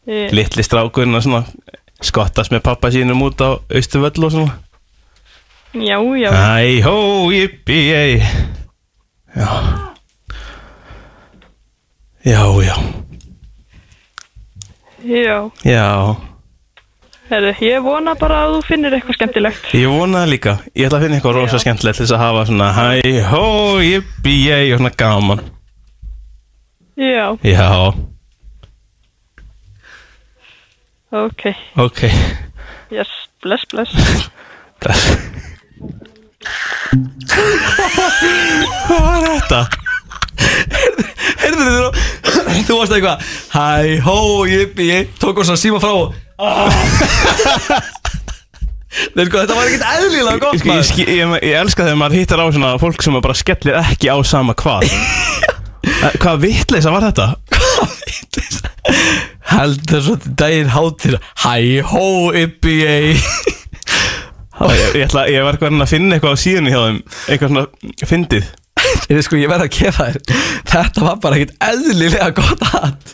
Ég- Litli strákurinn að svona skottast með pappa sínum út á austurvöll og svona Já, já, Æ, hó, jippi, ei Já Já, já, já já Herðu, ég vona bara að þú finnir eitthvað skemmtilegt Ég vona það líka, ég ætla að finna eitthvað rosa skemmtilegt til þess að hafa svona Hæ, hó, jippi, ei og svona gaman Já, Já, ok, ok (laughs) yes, bless, bless Bless. Hvað var þetta? Heyrðu þú Þú varst eitthvað Hæ, hó, jippi, ég Tók hún svona síma frá og (laughs) Nei, sko, þetta var ekkert eðlilega gott, Ég, maður ég, ég, ég elska þegar maður hittar á svona fólk sem bara skellir ekki á (laughs) sama hvað Eh, Hvað vitleisa var þetta? heldur svo til daginn hátir Hæ hó upp í ei ég, ég, ætla, ég var hvernig að finna eitthvað á síðunni hjá þeim Eitthvað svona fyndið Ég, sko, ég verð að gefa þér Þetta var bara ekkit eðlilega gott hatt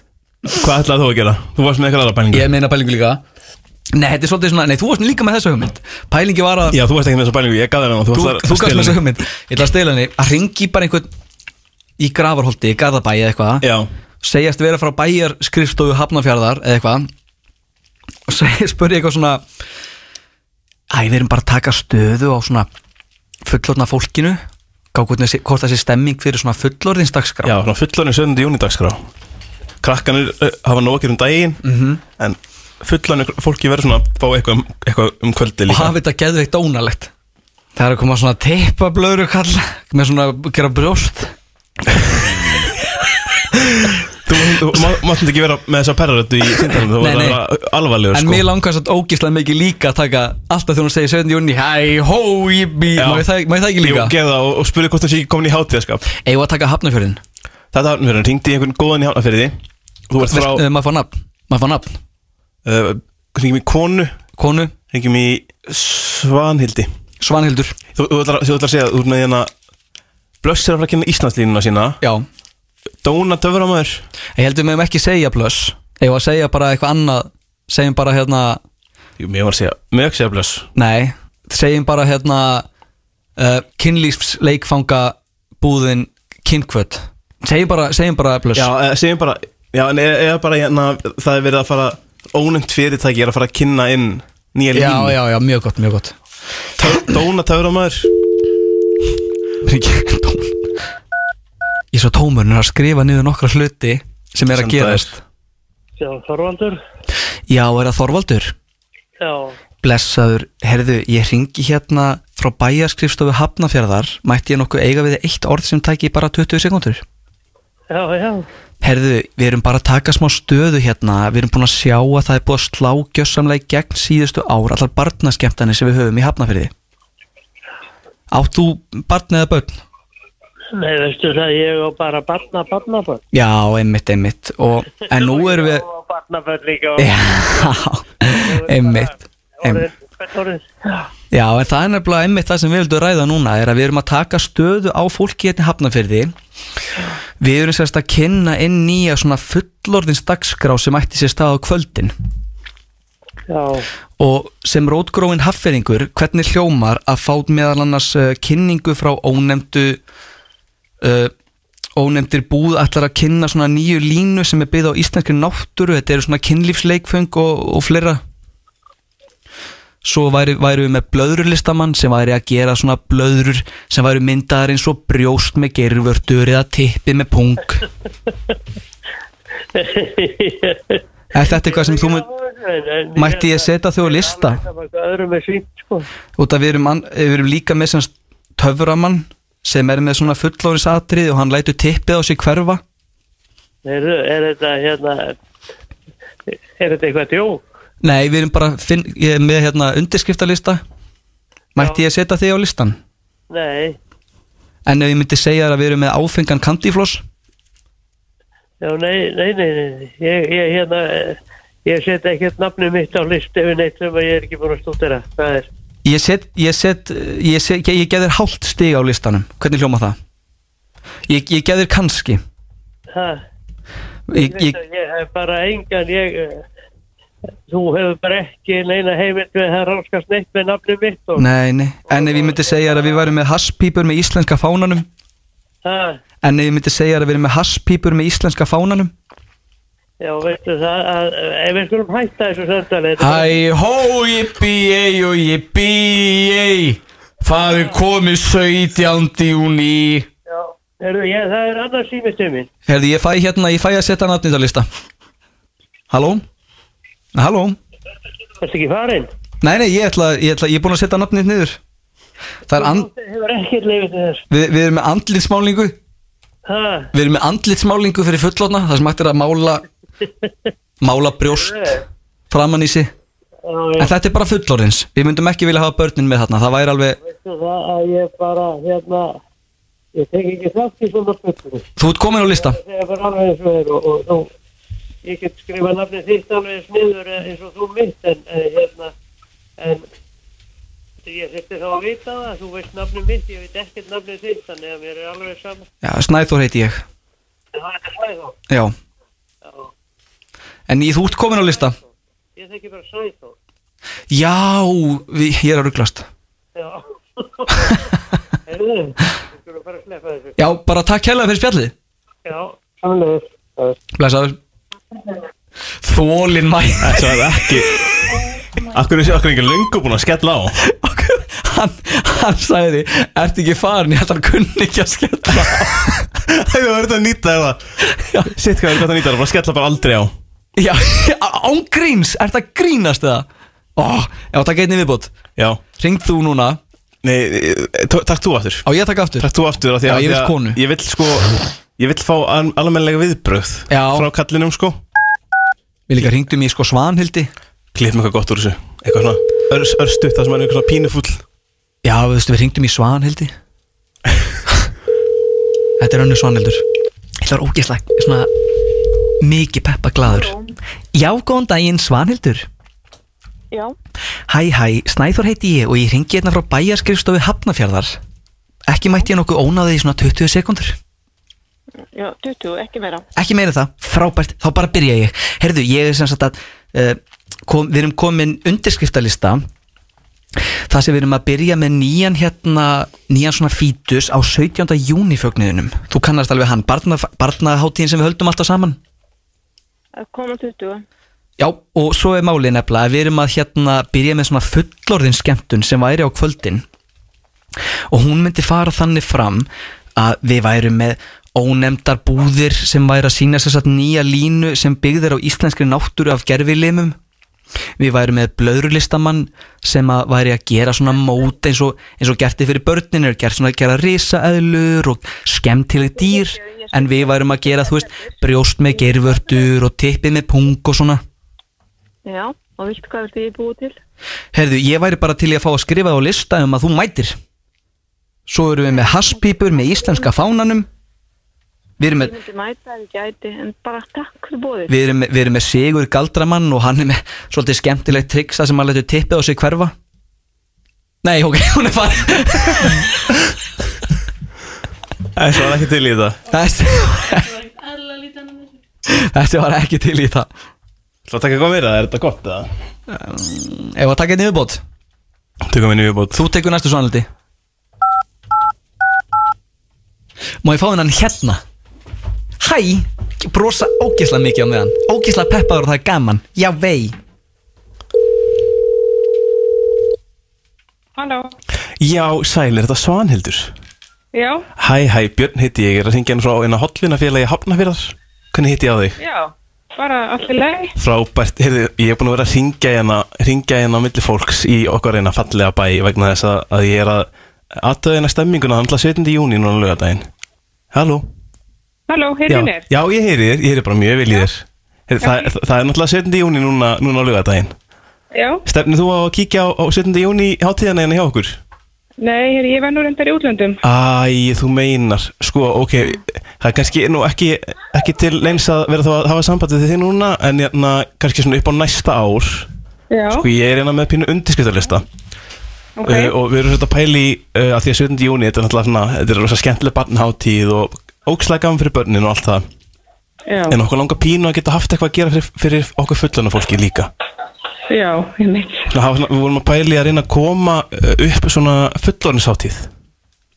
Hvað ætlaði þú að gera? Þú varst með eitthvað aðra pælingu Ég meina pælingu líka Nei, þetta er svolítið svona Nei, þú varst líka með þessu hugmynd Pælingi var að Já, þú varst ekki með þessu pælingu, ég gaf þér hana Þú, varst að þú gafst stela með þessu henni. hugmynd Ég ætla að stela henni Að ringi bara einhvern Í gravarholti, í Garðabæi eða eitthvað Já Segjast vera frá bæjar skrifstofu Hafnafjarðar eða eitthvað Og seg- (laughs) spurði eitthvað svona Æ, við erum bara að taka stöðu á svona fullorna fólkinu Gá hvort þessi- hvort það sé stemming fyrir svona fullorðinsdagskrá Já, svona fullanir 7. júni dagskrá Krakkanir uh, hafa nógir um daginn Mhm. En fullanir fólki verður svona að Fá eitthvað um, eitthvað um kvöldi og líka hafi þetta geðveikt dónalegt það er að koma svona teipa blöðru kall með svona gera brjóst Þú, þú má- mátt ekki vera með þessa perraröttu í síndanum Þú Nei, verður að nei. vera alvarlegur en sko. mér langast að ógislega mikið líka að taka alltaf þegar hún segir 17. júni hæ, hó, ég bí, Já. má ég það- má ég það ekki líka Jú, gerð það og, og spurði hvort það sé ekki komin í hátíðaskap Eða að taka hafnafjörðin Þetta hafnafjörðin, ringdi í einhvern góðan í hafnafjörði Þú ert frá Veist, eh, maður fá nafn maður fá nafn uh, Ringjum í konu Konu Ringjum í Svanhildi Svanhildur Þú, þú, ætlar, þú ætlar að segja, þú ert með hérna Blöss er að fara að kynna Íslandslínuna sína Já Dóna töframöður ég heldur meðum ekki segja blöss eða að segja bara eitthvað annað segjum bara hérna Jú, mér var að segja, mér var að segja blöss nei, segjum bara hérna uh, kynlífsleikfanga búðin kynkvöld segjum bara, segjum bara blöss Já, eh, segjum bara Já, en eða eða bara hérna Það er verið að fara Ónend fyrirtæki er að fara að kynna inn Nýja línu já, já, já, mjög gott, mjög gott Dóna töframöður Ég er svo tómur en er að skrifa niður nokkra hluti sem er að gerast Já, Þorvaldur Já, er það Þorvaldur? (laughs) Já, Blessaður, herðu, ég ringi hérna frá bæjarskrifstofu Hafnafjörðar mætti ég nokkuð eiga við þig eitt orð sem tæki bara 20 sekúndur já, já Herðu, við erum bara að taka smá stöðu hérna Við erum búin að sjá að það er búið að slá gjössamlega í gegn síðustu ár allar barnaskemmtani sem við höfum í Hafnafjörði Átt þú barn eða börn? Nei, veistu það, ég á bara barna, barna, barna Já, einmitt, einmitt og, En nú erum (laughs) við Og barna, barna líka og Já, einmitt Em, hvert orðið Já, já, en það er nefnilega einmitt það sem við vildum ræða núna er að við erum að taka stöðu á fólki hérna í hafnafyrði Við erum sérst að kynna inn nýja svona fullorðins dagskrá sem ætti sér stað á kvöldin já, (laughs) og sem rótgróin hafferingur hvernig hljómar að fá meðal annars uh, kynningu frá ónefndu uh, ónefndir búð ætlar að kynna svona nýju línu sem er byggð á íslenskri náttúru þetta eru svona kynlífsleikföng og, og fleira svo væri, væri við með blöðrulistamann sem væri að gera svona blöðrur sem væri myndaðar eins og brjóst með gerurvörtur eða tippi með pung Er þetta eitthvað sem þú mynd Mætti ég setja þau á lista? það var hvað öðrum er sínt, sko út að við erum, an, eh, við erum líka með sem sagt töframann sem er með svona fullóris atrið og hann lætur tippið á sig hverfa Er, er þetta, hérna Er þetta eitthvað djók? Nei, við erum bara finn, ég er með hérna undirskriftalista Mætti ég setja þig á listan? Nei, En ef ég myndi segja þér að við erum með áfengan kandífloss já, nei, nei, nei, nei. Ég, ég, hérna eh, Ég set ekkert nafnum mitt á listu yfir neitt sem að ég er ekki búin að stúttera. Það er, Ég set, ég set, ég, set, ég, ég geðir hálft stig á listanum Hvernig hljóma það? Ég, ég geðir kannski það, Ég, Ég, ég, ég, hef bara engan, ég, eh, þú hefur bara ekki neina heimild við það ráskast neitt með nafnum mitt og nei, nei En ef ég myndi segja þér að við værum með hasspípur með íslenska fánanum það, En ef ég myndi segja þér að við erum með hasspípur með íslenska fánanum já veistu það, að, ef við skulum hætta þessu söndali, Hæ hó jippi ei og jippi ei Það er komið 17. júni heyrðu, ég, það er annars símistu minn. Herði, ég fæ hérna, ég fæ að setja nafnið á lista Halló? Halló? Ertu ekki farinn? Nei, nei, ég ætla, ég ætla, ég er búin að setja nafnið niður Það er, and, Það hefur ekkert leifið til þess. við, við erum með andlitsmálingu Það, Við erum með andlitsmálingu fyrir fullotna Það sem hægt er að mála Mála brjóst Framan í sig En þetta er bara fullorðins Við myndum ekki vilja hafa börnin með þarna Það væri alveg veistu það að ég bara, hérna, ég tek ekki þátt í svona spurningu. Þú ert komin á lista Það er bara alveg eins og þér og, og, og, ég get skrifað nafnið þitt alveg eins niður eh, eins og þú mitt en eh, hérna en ég þurfti þá að vita það þú veist nafnið mitt, ég veit ekkert nafnið þitt þannig að mér er alveg saman Já, Snæþór heiti ég það er þetta Sæþór Já En ég, þú ert komin á lista ég þekki bara Sæþór Já, við, ég er að rugglast já (laughs) Heyrðu, við skulum bara sleppa þessu. (laughs) Já, bara takk hérlega fyrir spjallið já, samlega Blessaður Þólin mæ (laughs) Þetta er ekki Akkur er okkur engin löngu búin að skella á Hann sagði, ert ekki farin, ég held að hann kunni ekki að skella (laughs) Það er verið að nýta það Sitt hvað er gott að nýta það, bara skella bara aldrei á Já, (laughs) án gríns, ert að grínast það? Ó, já, takk einnig viðbót Já Ringd þú núna Nei, eh, takk þú aftur Á, ég takk aftur Takk þú aftur af því Já, að- ég því vil að- konu Ég vil sko, ég vil fá al almenlega viðbröð Já. Frá kallinum sko Við líka ringdum í sko Svanhildi Klippum eitthvað gott úr þessu Eitthvað svona ör, örstutt það sem er eitthvað svona pínufull Já, við veistu, við ringdum í Svanhildi Þetta er önnur Svanhildur Þetta var ógeðslega, svona mikið peppa glaður Já, góðan daginn Svanhildur Já, Hæ, hæ, Snæþór heiti ég og ég ringi hérna frá bæjarskrifstofu Hafnafjarðar Ekki mætti ég nokkuð ónáðið í svona 20 sekundur já, 20, ekki meira. Ekki meina það, frábært, þá bara byrja ég Herðu, ég er sem sagt að uh, kom, Við erum komin undirskriftalista Það sem við erum að byrja með nýjan hérna Nýjan svona fítus á 17. júnifögnuðinum Þú kannast alveg hann, barna, barnaháttíðin sem við höldum alltaf saman Að koma 20. Já, og svo er málið nefnilega að Við erum að hérna byrja með svona fullorðin skemmtun sem væri á kvöldin og hún myndi fara þannig fram að við værum með ónefndar búðir sem væri að sína sér satt nýja línu sem byggðir á íslenskri náttúru af gerfilimum við værum með blöðrulistamann sem að væri að gera svona mót eins og, eins og gerti fyrir börnin er gert svona að gera risaeðlur og skemmtileg dýr en við værum að gera, þú veist, brjóst með gervörtur og tippið með pung og svona Já, og viltu hvað viltu ég búið til? Herðu, ég væri bara til í að fá að skrifa á lista um að þú mætir Svo erum við með haspípur með íslenska fánanum Við erum Ég með, myndi mæta ef ég gæti, en bara takk fyrir búið. við erum með, við erum með Sigur Galdramann og hann er með svolítið skemmtilegt triksa sem hann letur tippið á sig hverfa Nei, ok, (laughs) hún er farin Það var ekki til í þetta Þessi (laughs) Þessi var ekki til í það Það taka eitthvað meira, er þetta gott eða? Ef að taka einn yfirbót Tökum við yfirbót Þú tekur næstu svonaldi Má ég fá hennan hérna? Hæ, brosa ógeðslega mikið á meðan Ógeðslega peppaður og það er gaman Já vei Halló, Já, sæl, er þetta Svanhildur? já, Hæ, hæ, Björn heiti ég, ég er að syngja hann frá eina hotlunafélagi Hafnafjörðar Hvernig heiti ég á þig? já, bara allt í lei. Frábært, heyrðu, ég er búin að vera að ringja hérna, ringja hérna á milli fólks í okkar eina fallega bæ vegna þess að, að ég er að aðtöða hérna stemminguna hann til 17. júni núna lögadaginn Halló Halló, já, heyrðu mér? já, ég heyri þér, ég heyri bara mjög vel í þér Heyrðu, það, það, það er náttúrulega 17. júni núna, núna á lögadaginn Já, Stefnir þú á að kíkja á, á 17. júni hátíðana hérna hjá okkur? nei, heyrðu, ég var nú reyndar í útlöndum. Ah, Æ, þú meinar, sko, ok Það er kannski nú ekki, ekki til leins að vera þá að hafa sambandið þið núna En jæna, kannski svona upp á næsta ár Já, Sko, ég er hérna með pínu undirskriftarlista ok, uh, Og við erum svolítið að pæli uh, að því að 7. júni Þetta er náttúrulega svona, þetta er rosa skemmtileg barnhátíð Og ókslega gaman fyrir börnin og allt það já, En okkur langar pínu að geta haft eitthvað að gera fyrir, fyrir okkur fullana fólki líka já, ég mitt. Svona hafa svona, Við vorum að pæli að reyna að koma uh, upp svona fullorðinshátíð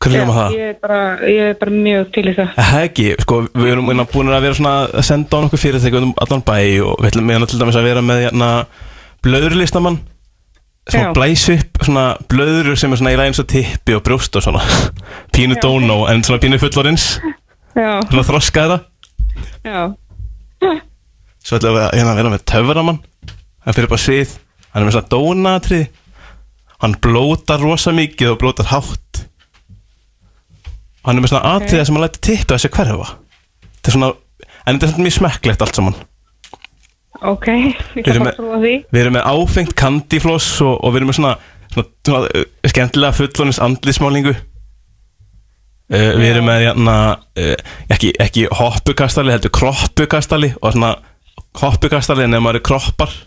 Hvernig hljóma það? Ég er bara, ég er bara mjög til í það. Það ekki, sko, við erum hérna búin að vera svona að senda á nokkuð fyrirtæki um allan bæ og við ætlum hérna til dæmis að vera með hérna blöðurlistamann sem Já. blæs upp svona blöður sem er svona í lægins og tippi og brjóst og svona pínu dónó en svona pínu fullorins Já, svona þroskaðra já, svo ætlum við að hérna, vera með töframann hann fyrir bara svið, hann er með svona dónatrið hann blótar rosa mikið og blótar hátt hann er með svona Ok. okay. atriða sem hann læti tippi að sér hverfa þetta er svona, en þetta er svona mjög smekklegt allt saman ok, ég Heyrðu, þarf með- að trúa því. Við erum með áfengt kandifloss og, og við erum með svona, svona, svona uh, skemmtilega fullonins andlismálingu uh, Við hérna, eh, erum með jana, uh, ekki, ekki hoppukastali heldur kroppukastali og svona hoppukastarlegin ef maður er kroppar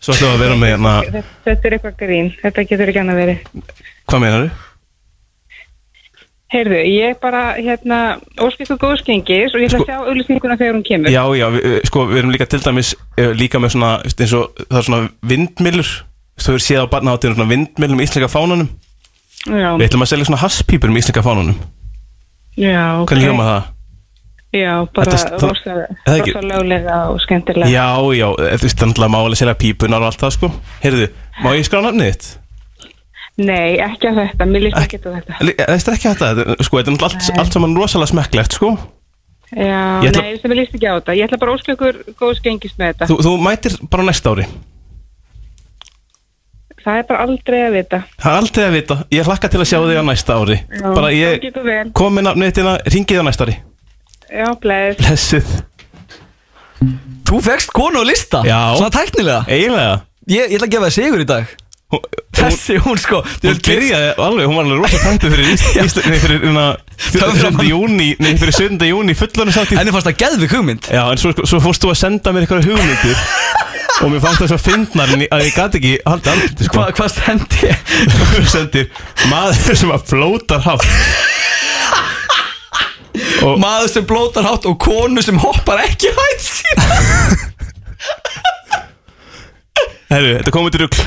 Svo ætlum við að vera með hérna Þetta, þetta er eitthvað grín, þetta getur ekki annað verið. Hvað meinar þú? Heyrðu, ég bara, hérna, óskist og góðskengis og ég ætla Sko- að sjá auðlýsninguna þegar hún kemur. Já, já, við, við- sko, við erum líka til dæmis eh, líka með svona, veist, eins og það er svona vindmilur, þú hefur séð á barnaháttíðunum svona vindmilur með íslenska fánanum Já, Við ætlum að selja svona hasspípur með íslenska fánanum já, ok. Hvernig hljóma það? Já, bara Þetta- það- rosalega, er það ekki- rosalega löglega og skemmtilega. Já, já, eh, þú veist, þannig að mála selja pípunar og allt það, sko Heyrðu, má ég skrá nafnið þitt? Nei, ekki að þetta, mér líst ekki að þetta. Li- eh, Þetta er ekki hægt að þetta, sko, þetta er náttúrulega allt, allt saman rosalega smekklegt, sko Já, Ég ætla- nei, þetta mér líst ekki á þetta. Ég ætla bara að óska ykkur góðskengis með þetta. þú, þú mætir bara á næsta ári Það er bara aldrei að vita. Það er aldrei að vita, ég hlakka til að sjá þig á næsta ári Já, Bara gangi ég ykkur vel. komi nafnið þitt hérna, ringið á næsta ári Já, bless. Blessuð Þú fegst konu á lista Já. Svona tæknilega Eiginlega Ég, ég ætla að gefa það sigur í dag Þessi hún sko Hún byrjaði alveg, hún var alveg rosa tættu fyrir (laughs) Íslandi fyrir hérna 17. júni, nei fyrir 17. júni fullunum (laughs) sátt Henni fannst það geðvik hugmynd Já, en svo, sko- svo fórst þú að senda mér (laughs) eitthvað hugmyndir og mér fannst það svo fyndnar en ég- að ég gat ekki halda andlut sko. Hvað hva sendi ég? Þú sendir maður (laughs) sem að flótar hátt Maður sem blótar hátt og konu sem hoppar ekki hætt sín Herru, þetta komið til rugl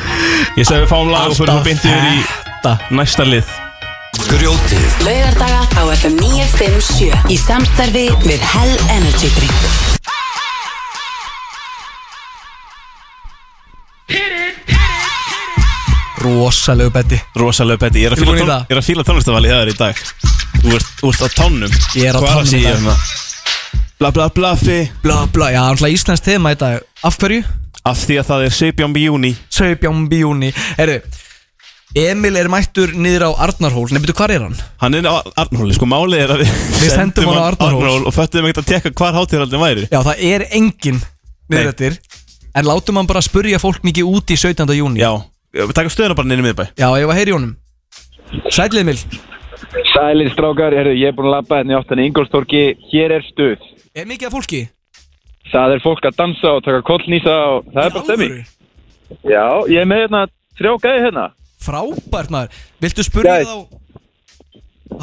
Ég segi við fáum lag og fyrir Alltaf þú beinti yfir í næsta lið Grjótið Laugardaga á FM 957 Í samstarfi við Hell Energy Drink Rosalegu betti Rosalegu betti, ég er að Tilbúin í fíla, það? tón, fíla tónlistavali það er í dag Þú ert, þú ert á tónnum Ég er á Hvað að tánum í segja dag. hérna? Bla bla bla fi Bla bla, já, alltaf íslensk tema í dag Af hverju? Af því að það er 17. júni 17. júni Herru, Emil er mættur niður á Arnarhól Nei, betur, hvar er hann? Hann er á Arnhóli, sko málið er að við Við sendum hann á Arnarhól. Og föttum ekkert að tekka hvar hátíðaraldin væri Já, það er engin Nei. niður eftir En látum hann bara spurja fólk mikið út í 17. júni Já, við taka stöðuna bara niður miðbæ Já, ég var heyri honum Sæll Emil Sælir strákar, heyrðu, ég er búin að labba hérna í áttan í Ingolstorki, hér er stuð. Er mikið af fólki? Það er fólk að dansa og taka kollnýsa og það er bara stemming. Já, ég er með hérna þrjá gæði hérna. Frábært maður Viltu spurja þá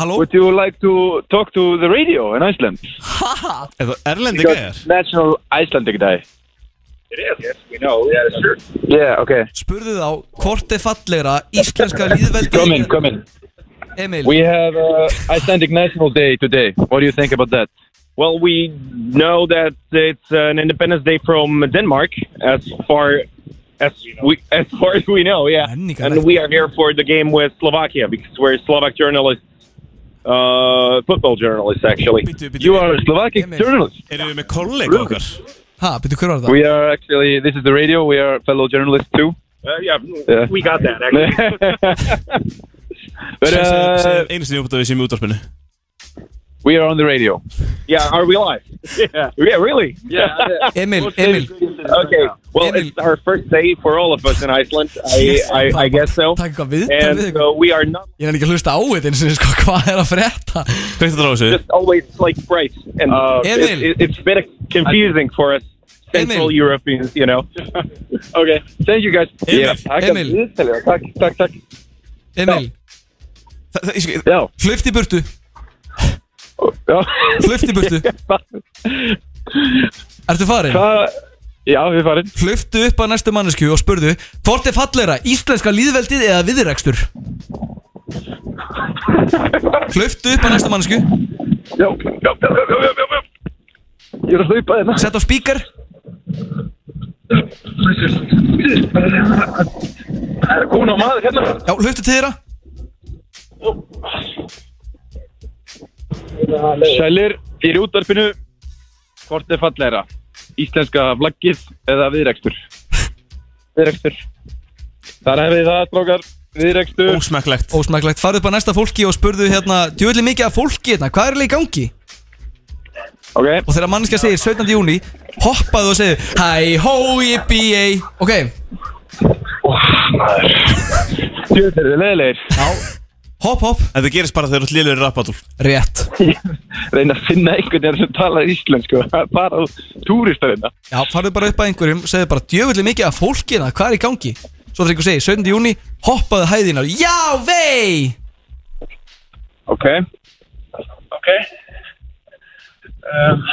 Halló? Would you like to talk to the radio in Iceland? Er það erlendi gæðir? National Icelandic Day. It is, yes, we know. Yeah, sure. Yeah, ok. Spurðu þá hvort er fallegra íslenska líðveldi Come in, come in. Emil We have uh, Icelandic National Day today. What do you think about that? Well, we know that it's uh, an Independence Day from Denmark, as far as we as far as we know. Yeah, and we are here for the game with Slovakia because we're Slovak journalists, uh, football journalists actually. You are sko. a Slovakian journalist. Erum við með kollega okkar? Ha, betur hver var það? We are actually, this is the radio, we are fellow journalists too. Uh, yeah, Yeah. we got that actually. But, uh, Segjum einu sinni upp að við séum í útvarpinu (laughs) We are on the radio. yeah, are we live? Yeah, yeah, really? Yeah. Emil, Emil. Okay. Well, it's our first day for all of us in Iceland. I, I, I guess so. And so we are not Ég nefnir ekki að hlusta á þetta eins og sko, hvað er að frétta? Hvað er þetta rásu? just always like bright. And uh, Emil. it, it, it's been confusing for us Central Europeans, you know. okay. Thank you guys. Emil, Yeah, takk að Emil. viðtalið, Takk, takk, takk. Emil Já Hlauft í burtu Hlauft í burtu Ertu farin? Já, við farin Hlauftu upp að næstu mannesku og spurðu Hvort er fallegra, íslenska líðveldið eða viðrekstur? Hlauftu upp að næstu mannesku Já, já, já, já, já, já, já. Ég er að hlaupa hérna Sett á spíkar Það er komin á maður hérna Já, hlauftu til þeirra Sælir, þið er í útvarpinu Hvort er fallegra? Íslenska flaggið eða viðrekstur? Viðrekstur Þar hefði það, strókar Viðrekstur Ósmekklegt Ósmæklegt, farðu upp að næsta fólki og spurðu hérna Djöðli mikið af fólki hérna, hvað er eiginlega í gangi? Ok Og þegar manneska segir 17. júni Hoppaðu og segir Hæ, hó, jippi, ei Ok, Tjöður, þið leðilegir Já Hopp, hopp Þetta gerist bara þegar þú ert liður í rappadúl Rétt Reyna að finna einhvern veginn sem talar íslensku (laughs) Það er bara túristar hérna Já, farðu bara upp að einhverjum, segðu bara djöfulli mikið af fólkina, hvað er í gangi? Svo þegar ykkur segir, 17. júni, hoppaðu hæðinar, já vei! Ok Ok um,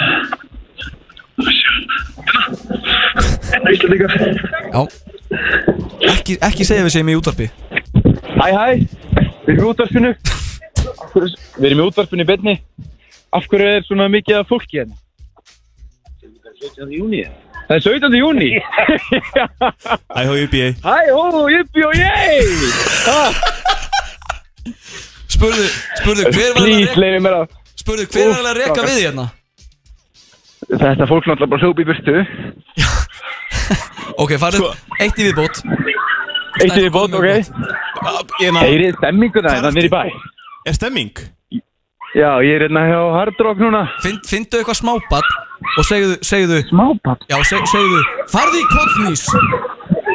Hérna Íslandingar Já Ekki, ekki segja við segjum í útvarpi Hæ hæ Við erum í útvarpinu Af hverju, Við erum í útvarpinu í betni Af hverju er svona mikið af fólki hérna? 17. júni Það er 17. júni Æ, hó, UBA Hæ hó, yppi og ég Spurðu, spurðu, hver var Please, eiginlega leyfið mér að Spurðu, hver var Úff, eiginlega að reka strákar. við hérna? Þetta fólk náttúrulega bara hljópi í burtu (laughs) Sko. Ok, farðu, eitt í viðbót Eitt í bótt, ok Heyrið stemminguna hérna nýri bæ Er stemming? Já, ég er hérna hjá Hard Rock núna Find, Findu eitthvað smábatt og segðu, segðu Smábatt? Já, seg, segðu, farðu í kottnís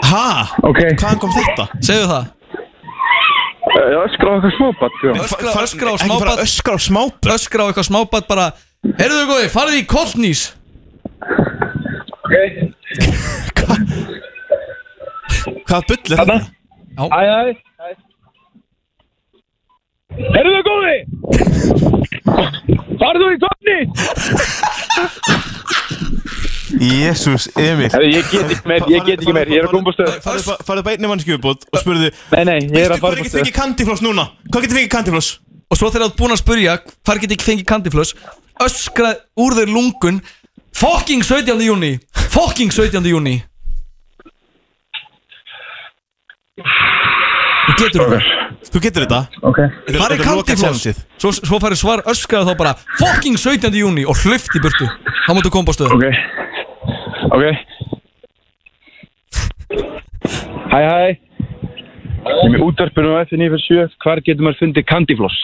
Ha? Ok Hvaðan kom þetta? Segðu það Já, öskra á eitthvað smábatt sko. Öskra, öskra á ekki fara smábatt að Öskra á smábatt Öskra á eitthvað smábatt bara Herðu góði, farðu í kottnís Hvað bull er þetta? Æ, æ, æ Eru þau góði? Farðu í kottnýtt? Jésús, Emil Herri, ég get ekki meir, ég get ekki meir, ég er að koma á stöð Farðu bara einni mannskjöfubót og spurðu Nei, nei, ég er að fara á Hvað getur stöð fengið kandifloss núna? Hvað getur fengið kandifloss? Og svo þegar þú ert búin að spurja Hvar get ég fengið kandiflöss Öskra úr þeir lungun Fucking 17. júni Fucking 17. júni Þú getur þetta Þú getur þetta Ok Hvar er kandifloss? Svo, svo færðu svar öskraðu þá bara Fucking 17. júni og hlauft í burtu Þá máttu koma á stöðu Ok Ok Hæ, hæ Ég er með útarpinu á FN yfir 7 Hvar getur maður fundið kandifloss?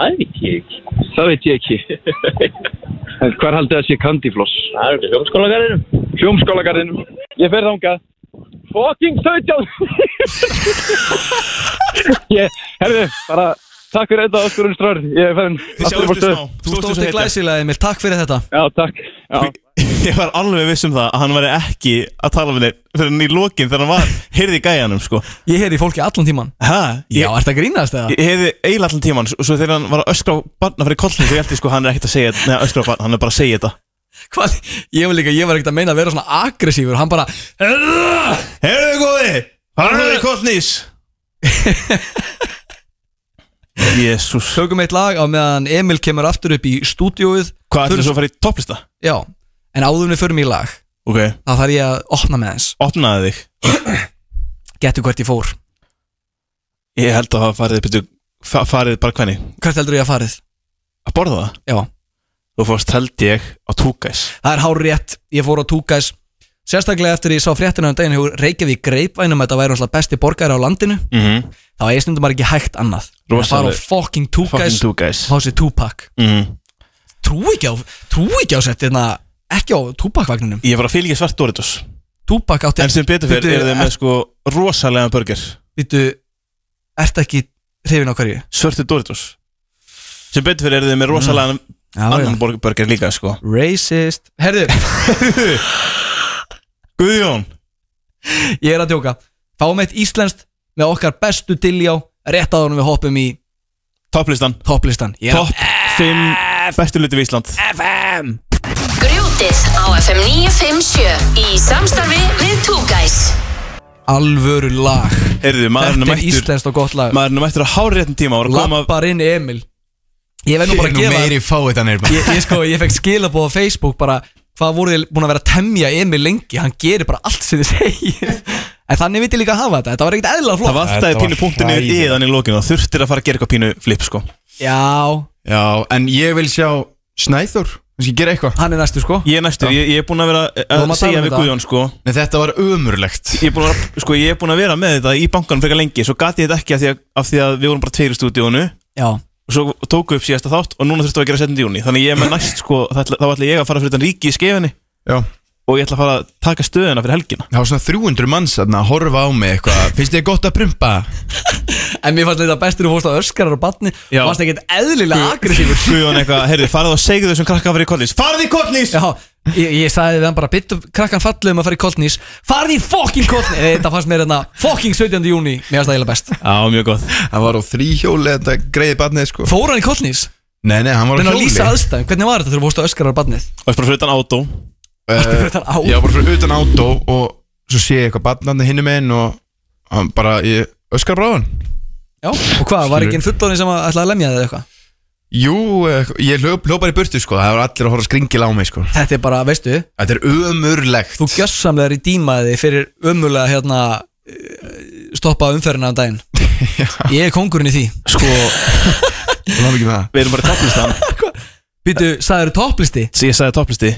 Æ, ég Það veit ég (laughs) ekki En Hvar haldið það sé kandifloss? Það er ekki hljómskólagarðinum Hljómskólagarðinum Ég fer þangað Fucking 17 (laughs) Ég, herðu, bara Takk fyrir þetta, Oskur Unnströður Ég er fenn Þú stóðst þig glæsilega Emil, takk fyrir þetta Já, takk Já. Ég var alveg viss um það að hann væri ekki að tala við þeir fyrir hann í lokin þegar hann var heyrði í gæjanum sko Ég heyrði í fólki allan tíman Hæ? Já, ertu að grínast eða? Ég heyrði eiginlega allan tíman og svo þegar hann var að öskra á barna fyrir kollin þegar ég held ég sko hann er ekkert að segja neða öskra á barna, hann er bara að segja þetta Hvað? Ég var líka, ég var ekkert að meina að vera svona aggressífur Hann bara Heyrðu góði, hann er kollnís (laughs) Jésús Tökum eitt lag á meðan Emil kemur aftur upp í stúdíóið Hvað ætlum svo að fara í topplista? Já, en áðurinn við förum í lag Ok Þá þarf ég að opna með hans Opnaði þig Getur hvert ég fór Ég held að hafa farið, betur, farið bara hvernig? Hvert heldur ég að farið? Að borða það? Já Þú fórst held ég á túkæs Það er hár rétt, ég fór á Túkæs Sérstaklega eftir ég sá fréttina um daginn Hefur Reykjavík greipvænum að þetta væri alltaf besti borgari á landinu mm -hmm. Þá er stundum bara ekki hægt annað En að fara á Rosaleg. fucking Túkæs Fucking Túkæs. Fá sér Túpak mm. Trú ekki á, trú ekki á sett hérna, Ekki á Túpakvagninum Ég var að fylgja svart Doritos Túpak átti En sem betur fyrir Bíddu, eru þið með sko rosalega burger Býtu, ert ekki hrifin á hverju? Svörtu Doritos Sem betur fyrir eru þið með rosalega Mm. Já, annan borg- burger líka sko Racist Herðu (laughs) Guðjón Ég er að djóka Fáum eitt íslenskt með okkar bestu dilljá Rétt áður en við hoppum í Topplistan Topplistan Ég er að- Topp 5 bestu luti við Ísland FM Grjótið á FM 957 í samstarfi við Two Guys Alvöru lag Heyrðu, maðurinn er Þetta er mættur íslenskt og gott lag Maðurinn er mættur að hári réttin tíma og koma Lappar inn Emil Ég verð nú bara að Ég er gefa nú meiri fáið þannig bara. Ég, ég sko, ég fekk skilabóð á Facebook bara Hvað voruð þið búin að vera að temja Emil lengi Hann gerir bara allt sem þið segir En þannig viti líka að hafa þetta Þetta var ekkert eðla flott Það vantaði pínu punktinu í þannig lókinu og þurftir að fara að gera eitthvað pínu flip sko Já Já, en ég vil sjá Snæþór Kannski gera eitthvað Hann er næstu sko Ég er næstur, ég, ég er búinn að vera að segja um við Guðjón sko Nei, þetta var ömurlegt Ég er búinn að, vera- sko, ég er búinn að vera með þetta í bankanum frekar lengi Svo gati ég þetta ekki af því að, af því að við vorum bara tveir í stúdíónu Já Og svo tóku upp síðasta þátt og núna þurftu að gera 17. júni Þannig ég er með næst sko, það ætla- þá ætla ég að fara fyrir þann ríki í skefinni Já og ég ætla að fara að taka stöðuna fyrir helgina Það var svona 300 manns þarna að horfa á mig eitthvað Finnst þið gott að prumpa? En mér fannst þetta bestur að fórst á öskarar og batni Já. Fannst ekkert eðlilega Guð- aggressífur Guðjón eitthvað, heyrðu, farðu og segðu þessum krakka að fara í kollins Farðu í kollins! Já, ég, ég sagði við hann bara Bittu krakkan fallu um að fara í kollnís Farði í fokking kollnís Þetta fannst mér hérna fokking 17. júni Mér fannst það eiginlega best Já, mjög gott Það var á þrýhjóli þetta greiði barnið sko Fór hann í kollnís? Nei, nei, hann var á Hvernig var hjóli lýsa aðstæðum? Hvernig var þetta þegar þú fórst á öskarar og batnið? Varst bara fyrir utan átó Varstu fyrir utan átó? Eh, Já, bara fyrir utan átó og svo sé ég eitthvað barnandi hinnum einn og hann bara, ég öskar bara á hann Já, og hvað, var ekki einn fullorinn sem að- ætlaði að lemja þig eða eitthvað? Jú, eh, ég hljóp, hljópar í burtu sko, það var allir að horfa skringil á mig sko Þetta er bara, veistu Þetta er ömurlegt Þú gjössamlegar í dímaði fyrir ömurlega hérna eh, stoppa umferðina á (laughs) daginn Ég er kongurinn í því Sko Það var ekki með Við erum bara í topplistan Býtu, sagðið eru topplisti? Sí, ég sagði topplisti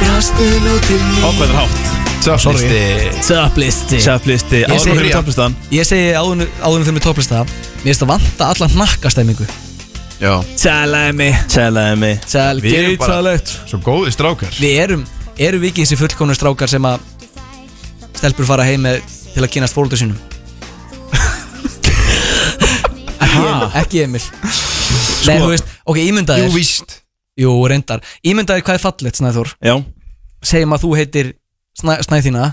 Brastu nú til Á hvað er hátt? Topplisti Topplisti Ég Áður fyrir segi- topplistan Ég segi áðunum fyrir mig topplista Mér finnst að vanta alla nakkastemmingu Já Tjalaði mig Tjalaði mig Tjal, Við erum gerðu bara tjalegt Svo góði strákar Við erum, erum við ekki þessi fullkomnu strákar sem að stelpur fara heim með til að kynast fóldur (laughs) sínum ekki, Emil, ekki Emil Nei, þú veist, ok, ímyndaðir Sko- Jú, víst Jú, reyndar Ímyndaðir hvað er fallegt, Snæður Já Segjum að þú heitir Snæ, Snæðina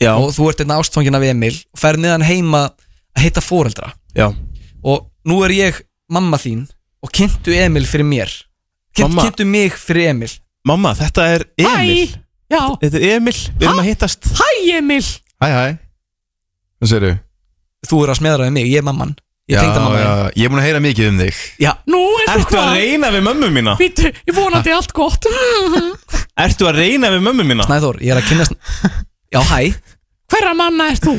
Já Og þú ert einn ástfangin af Emil Og ferð meðan heima að hitta fóreldra Já Og nú er ég mamma þín Og kynntu Emil fyrir mér Kynnt, Mamma. Kynntu mig fyrir Emil Mamma, þetta er Emil Hæ, já Þetta er Emil, við erum að hittast Hæ Emil Hæ, hæ Hvað segir þau? Þú er að smeðra við mig, ég er mamman Ég tengda mamma já, Ég er búin að heyra mikið um þig Já, Nú eins og Ertu að hvað? reyna við mömmu mína? Býtu, ég vonandi allt gott Ertu að reyna við mömmu mína? Snæður, ég er að kynna Já, hæ Hverra manna ert þú?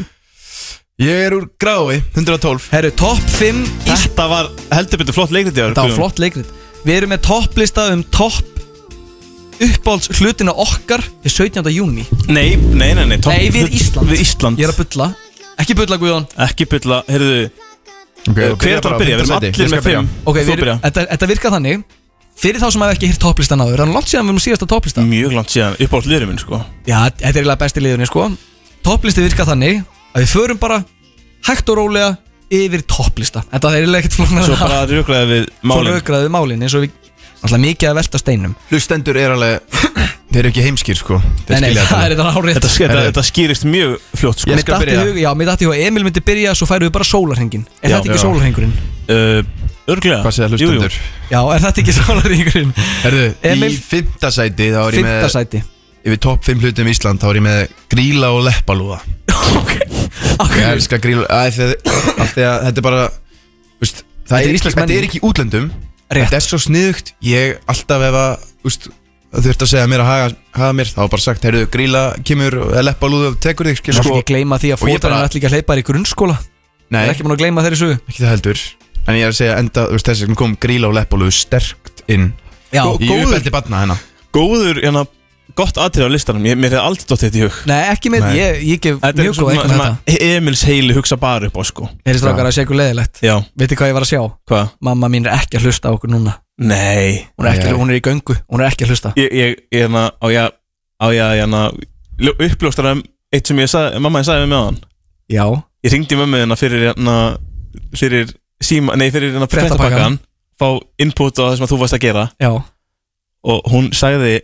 Ég er úr grái, 112 Herru, topp 5 Þetta var heldur betur flott leikrit Þetta var flott leikrit Við erum með topplista um topp uppáhalds hlutina okkar til 17. júni Nei, nei, nei, nei, topp- Nei, við Ísland. Við Ísland Ég er að bulla Ekki bulla Guðjón Ekki bulla, heyrðu Eh, okay, Hver ætlar að byrja? Við erum allir með fimm Ok, við Þú erum, byrja þetta, þetta virka þannig Fyrir þá sem hafa ekki hýrt topplistan áður Þannig langt síðan við erum síðasta Mm. topplista Mjög langt síðan, upp á allir (laughs) minn, sko Já, þetta er eiginlega besti liðunni sko Topplisti virka þannig að við förum bara hægt og rólega yfir topplista Þetta er eiginlega ekkert flóknar Svo (laughs) bara rökraði við Svo málin rökraði við málin eins og við Alltaf mikið að velta steinum Hlustendur er (clears throat) alveg Þeir eru ekki heimskir sko Þeir Nei, nei, skilja (laughs) það er þetta hárið Þetta, þetta, þetta skýrist mjög fljótt sko. Mér datt í hug, já, mér datt í hug að Emil myndi byrja svo færum við bara sólarhengin Er Já. þetta ekki Já. sólarhengurinn? uh, Örglega Hvað segja hlustendur? Já, er þetta ekki (laughs) sólarhengurinn? Herðu, Emil? í fymta sæti þá er ég með Fimmta sæti. Yfir topp 5 hlutum í Ísland þá er ég með gríla og leppalúða Ok Ég elska gríla Æ, þeir, af því að þetta er bara úst, Þetta Það er er, ekki, íslensk þetta er menning. ekki í útlöndum Rétt. Þetta er svo sniðugt Ég alltaf ef að úst, þurft að segja mér að haga, haga mér þá er bara sagt, heyrðu, gríla kemur eða leppalúða og tekur þig Ég skilur ætla ekki að gleyma því að sko- Og ég bara- fótarinn ætla ekki að hleypa þér í grunnskóla Nei. Ég er ekki búin að gleyma þeirri sögu Ekki það heldur En ég er að segja enda, þú veist, þess vegna kom gríla og leppalúðu sterkt inn Já. Gó- Í Góður. uppeldi barna hérna Góður, hérna, gott atrið á listanum ég, Mér hefði aldrei dótt þetta í hug Nei, ekki með, Nei. ég, ég gef Þetta er mjög góð svona- eitthvað þetta svona Emils heili hugsa bara upp á sko Þeirri strákar að sé ykkur leðilegt Já Veitir hvað ég var að sjá? Hvað? Mamma mín er ekki að hlusta á okkur núna Nei Hún er, ekki, hún er í göngu, hún er ekki að hlusta Ég, ég, ég, hérna, á ég, á ég, að, hérna ljó- Uppljóstra um eitt sem ég sagði, mamma ég sagði við með hann Já Ég ringdi mömmu hérna fyrir, hérna, fyrir síma, nei, fyrir hérna Fréttapakkann. fréttapakkan Fá input á það sem að þú varst að gera Já og hún sagði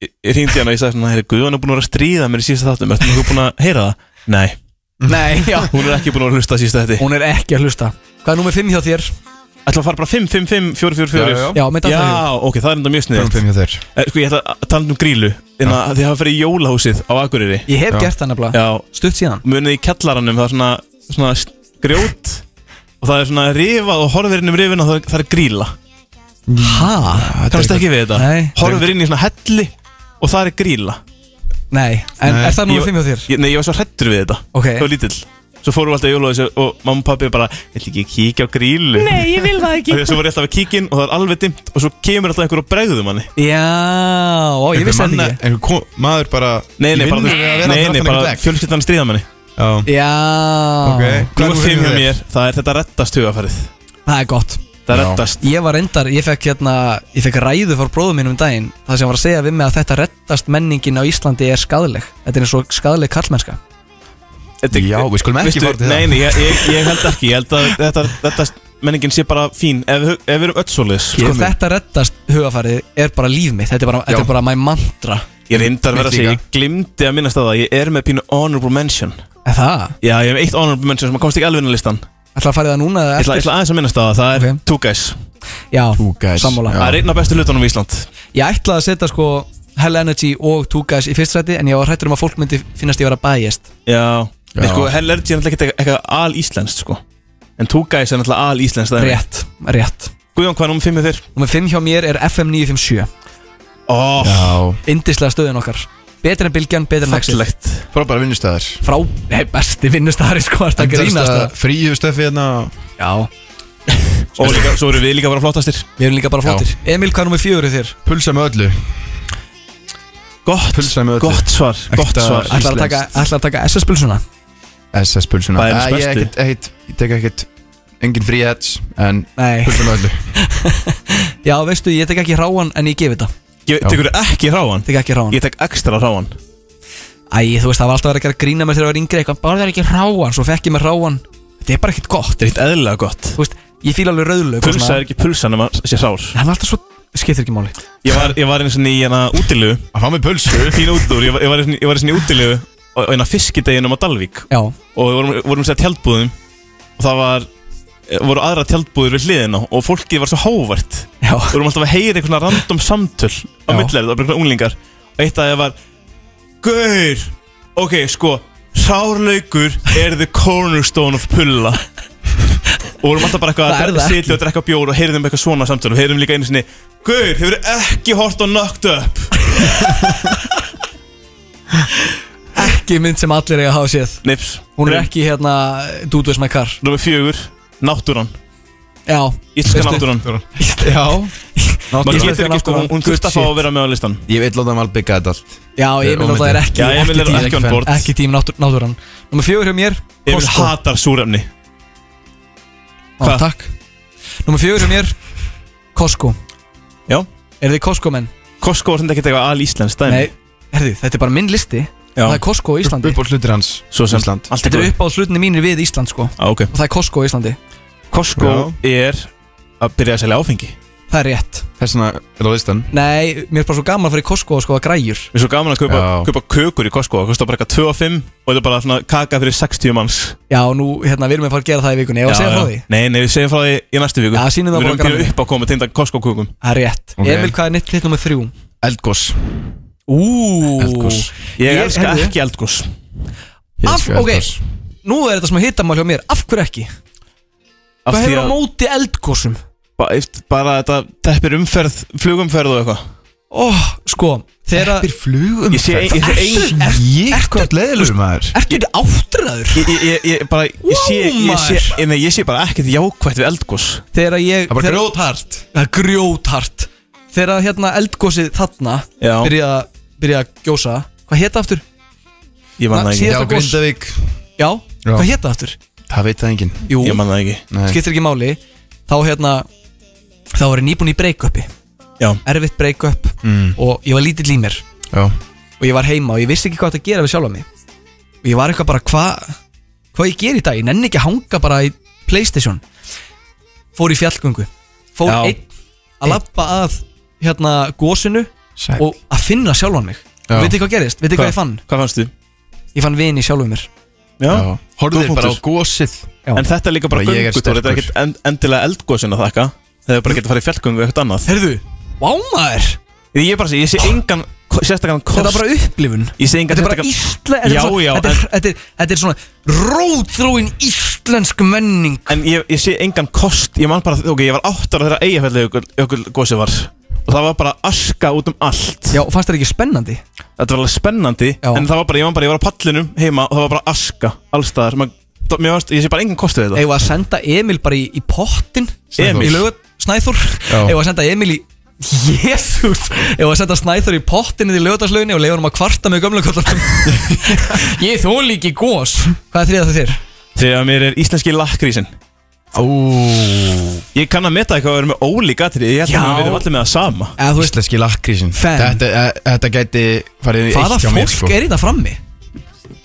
ég ég hringdi hana og ég sagði svona "Heyrðu, Guðjón er búin að vera að stríða mér í síðasta þáttum ertu nokkuð búin að heyra það? Nei Nei, já Hún er ekki búin að hlusta síðasta þetta Hún er ekki að hlusta Hvað er númer 5 hjá þér? Ætla að fara bara 5, 5, 5, 4, 4, Já, 4 já, já. Já, með Já, dattahugi. ok, það er enda mjög snið Fimm, fimm hjá þér. Sko, ég ætla að tala um grílu Þannig að þið hafa farið í jólahúsið á Akureyri Ég hef gert það nefnilega. Stutt síðan Munið í kjallaranum, það er svona, svona grjót Og það er svona rifað og horfir inn um rifin og það er- það er gríla Hæ? Kannast ekki við þetta Nei. Horfir inn í svona helli og það er gríla Nei, en er það númer 5 hjá þér? Ég, nei, ég var svo hrættur við þetta Ok. Það var lítill Svo fórum við alltaf í jólóðis og mamma og pappi bara Ég ætla ekki að kíkja á grílu Nei, ég vil það ekki. Og Svo var ég alltaf að kíkja inn og það var alveg dimmt Og svo kemur alltaf einhver og bregðum manni Já, ó, ég vissi þetta ekki ekki Maður bara Nei, nei, Ég bara, vinn við að vera nei, fyrir nei, aftan bara einhvern vegg. fjölskyldan stríða manni Já Já Nú er fimm hjá mér, það er þetta rettast hugafærið Það er gott Það reddast Ég var reyndar, ég fekk hérna Ég fekk ræðu fór bróðum mínum um daginn Það sem var að segja við mig að þetta reddast menningin á Íslandi er skadleg Þetta er eins og skadleg karlmennska Já, við skulum ekki fara til það. Nei, nei, ég, ég, ég held ekki Ég held að þetta, þetta menningin sé bara fín Ef, ef við erum öll svoleiðis Sko þetta reddast hugafarið er bara líf mitt Þetta er bara, þetta er bara my mantra Ég reyndar að vera að segja, ég glimti að minnast að það Ég er með pínu honorable mention Er það? Já, ég hef eitt honorable mention sem að komst ekki alveg inn á listan Ætla að fara í það núna eða Ég ætla, eftir? ég ætla aðeins að minnast á það, það er Two Guys Já, Two Guys, sammála. já. Það er einn af bestu hlutunum í Ísland Ég ætlaði að setja sko Hell Energy og Two Guys í fyrst sæti En ég var hrættur um að fólk myndi finnast ég vera biased Já, Já. Nei, sko, Hell Energy er náttúrulega ekkert eitthvað al íslenskt sko En Two Guys er náttúrulega al íslenskt það er Rétt, rétt Guðjón, hvað er nummer 5 þér? Nummer 5 hjá mér er FM 957 oh. Indislega stöðin okkar Betur en Bilgjan, betur en Axel Fallegt Frábæra vinnustæðar Frá, nei, besti vinnustæðar sko, ertu að grínast það? Fríu stöfi hérna Já Og líka, svo eru við líka bara flottastir Við erum líka bara flottir Emil, hvað er nummer fjögur í þér? Pulsa með öllu Gott, Pulsa með öllu gott svar, gott svar. Ætlar að taka, ætlar að taka SS-pulsuna SS-pulsuna Bæjarins Ég bestu. ekkert- ekkert- ég tek ekkert Engin frí ads En Nei. pulsa með öllu Já, veistu, ég tek ekki hráan en ég gef þetta Ég- tekurðu ekki hráan? Tek ekki hráan Ég tek ekstra hráan Æ, þú veist, það var alltaf verið að gera grína með þegar ég var yngri eitthvað Borðar ekki hráan, svo fekk ég með hráan Þetta er bara ekkert gott Þetta er ekkert eðlilega gott Þú veist, ég fíla alveg rauðlaug og Pulsa svona. er ekki pulsa nema sé hrár Hann var alltaf svo, skiptir ekki máli Ég var, ég var eins og í hérna útilegu Að fá mig pulsu Fín útúr, ég var, ég var eins og- ég var eins og í útilegu Og og hérna fiskideginum á Dalvík Já Og við vorum, vorum sér tjaldbúðum Og það var voru aðra tjaldbúður við hliðina og fólkið var svo hávart Já. Við vorum alltaf að heyra einhvern svona random samtöl á millerið, það var einhvern unglingar og eitt að það var Gaur, ok, sko Sárlaugur er the cornerstone of pulla og vorum alltaf bara Það er eitthvað það að ekki. sitja og drekka bjór og heyrðum eitthvað svona samtöl og heyrðum líka einu sinni Gaur, hefur ekki hort á Knocked Up Ekki mynd sem allir eiga að hafa séð Nips Hún er ekki hérna, Dude with my car Númer fjögur, náttúran Já Íslenska veistu- náttúran Já Maður getur ekki, sko, hún- hún þurft að fá að vera með á listan Ég vil láta hann albyggja þetta allt Já, Emil alltaf er ekki Já, Emil er ekki tím- ekki on board. Ekki tím náttúr- náttúran Númer fjögur hjá mér Emil Costco. hatar súrefni Á, Takk Númer fjögur hjá mér Costco Já Er þið Costco menn? Costco er þetta ekkert eitthvað al-íslenskt dæmi. Nei, herði, þetta er bara minn listi Já. Það er Costco á Íslandi Upp á hlutir hans Svo sem Ísland allt Þetta góðu. er upp á hlutinni mínir við Ísland sko ah, okay. Og það er Costco á Íslandi Costco er að byrja að selja áfengi Það er rétt Þess vegna er það listan Nei, mér er bara svo gaman að fara í Costco og skoða græjur Mér er svo gaman að kaupa, Já. kaupa kökur í Costco Það kostar bara eitthvað 2 og 5 Og þetta er bara svona kaka fyrir 60 manns Já, og nú, hérna, við erum að fara að gera það í vikunni Ég var að segja frá því Nei, nei, við segjum frá því í næstu viku Já, sýnum það Við bara erum grannir. pínu upp á komið tegnda Costco kökum Það er rétt Ok. Emil, hvað er nitt þitt nummer þrjú? Eldgós Ú Ég, elska heyrðu, ekki eldgós Af, ok, nú er þetta sem að hitta hjá mér Af hverju ekki? Af Hvað því hefur á að- móti eldgósum? ba eft- Bara þetta teppir umferð, flugumferð og eitthvað Ó, sko, þegar að- flugum Ég sé ein- ég sé ein- Ekkert leðilur maður Ertu þetta áttræður? Ég, ég, ég, ég, bara, ég, sé, ég, sé, ég, nei, ég sé bara ekkert jákvætt við eldgós Þegar að ég Það er bara þegar- grjóthart. Það er grjóthart Þegar að, hérna eldgósið þarna Já. byrja, byrja að gjósa Hvað hétta aftur? Ég man Na, það ekki síðasta gos. Já, Já. hvað hétta aftur? Það veit það enginn Jú. Ég man það ekki Skiptir ekki máli Þá hérna Þá var ég nýbúin í break-upi Já. Erfitt break-up Mm. Og ég var lítill í mér Já. Og ég var heima og ég vissi ekki hvað þetta gera við sjálfa mig Og ég var eitthvað bara hvað Hvað ég ger í dag? Ég nenni ekki að hanga bara í Playstation Fór í fjallgöngu Fór Já. einn að labba að Hérna gósinu Sæk. Og að finna sjálfan mig Já. Og veitir hvað gerist? Veitir hvað ég fann? Hvað fannst þið? Ég fann vini í sjálfum mér Já, Horfðu Góð þér bara á punktur. gósið En þetta er líka bara Bara ég er göngutúr, þetta er sterkur. ekkert en- endilega eldgósin að þakka Það er bara getið að fara í fjallgöngu eitthvað annað Herðu, vámaður Ég er bara að segja, ég sé engan ko- sérstakann kost Þetta er bara upplifun Ég sé engan Þetta er bara Ísla þetta er Já, svo- já, þetta er, þetta, er, þetta er svona rótróin íslensk menning En ég, ég sé engan kost, ég man bara, ok, ég var átt ára þegar eigafellið ykkur, ykkur gósið var Og það var bara aska út um allt Já, fannst þetta ekki spennandi? Þetta var alveg spennandi, en það var bara, ég man bara, ég var á pallinum heima og það var bara aska allstaðar Man- það- Mér varst, ég sé bara engan kost við þetta Eða að senda Emil bara í, í pottin Snæþór. Í lögut, Snæþór Já. Eða að senda Emil í Jésús Eða að senda Snæþór í pottin í lögutaslauginni og leiða hann um að kvarta með gömlega kollanum Ég þóli ekki gós Hvað er þriða það þér? Þegar mér er íslenski lakkrísin Ó Ég kann að meta eitthvað að vera með ólík atrið Ég held Já. að við erum allir með það sama Íslenski lakkrísin þetta, eh, þetta gæti farið í Hvaða eitt hjá mér, fólk sko. er í það frammi?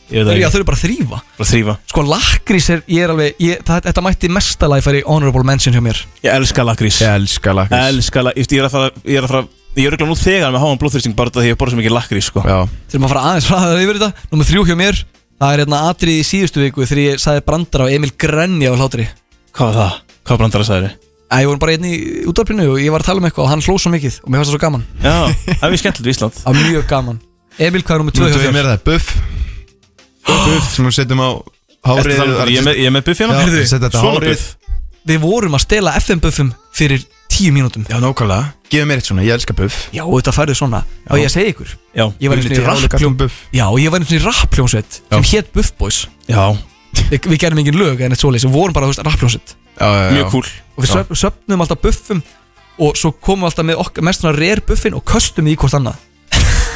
Ég Þau veit eru það ekki. þau eru bara að þrýfa Bara þrýfa Sko lakrís er, ég er alveg ég, það, Þetta mætti mestalega færi honorable mention hjá mér Ég elska lakrís Ég elska lakrís Elska lakrís Ég er að fara Ég er að fara Ég er auðvitað nú þegar með háan blóðþrýsting bara út af því að ég borða svo mikið lakrís sko Já Þurfum að fara aðeins hraðar yfir þetta Númer þrjú hjá mér Það er hérna atrið í síðustu viku Þegar ég sagði brandara og Emil Grenja á hlátri Hvað var það? Hvað brandara sagði þið? Æ, ég voru bara hérna í útvarpinu og ég var að tala um eitthvað og hann hló svo mikið og mér fannst það svo gaman Já, það er mjög skemmtilegt við Ísland Það var mjög gaman Emil, hvað er nummer 2 Númer tvö hjá mér er það, buff Buff sem við setjum á hárið Ertu að tala um- ég er með- ég er með buff hérna? Heyrðu, Já, setja þetta á svona hárið buff. Við vorum að stela FM buffum fyrir 10 mínútum Já, nákvæmlega Gefum mér eitt svona, ég elska buff Já, þetta færðu svona Já, ég að segja ykkur Já, Ég var einhvern Lítið veginn í ráðleika um rappljóm buff Já, ég var einhvern veginn í rappljómsveit sem hétt Buff Boys Já Vi, Við gerum engin lög en eitt svoleiðis við vorum bara, þú veist, rappljómsveit já, já. Mjög kúl. Og við Já. söp, söpnum alltaf buffum og svo komum við alltaf með okkar mest svona rare buffin og köstum í hvort annað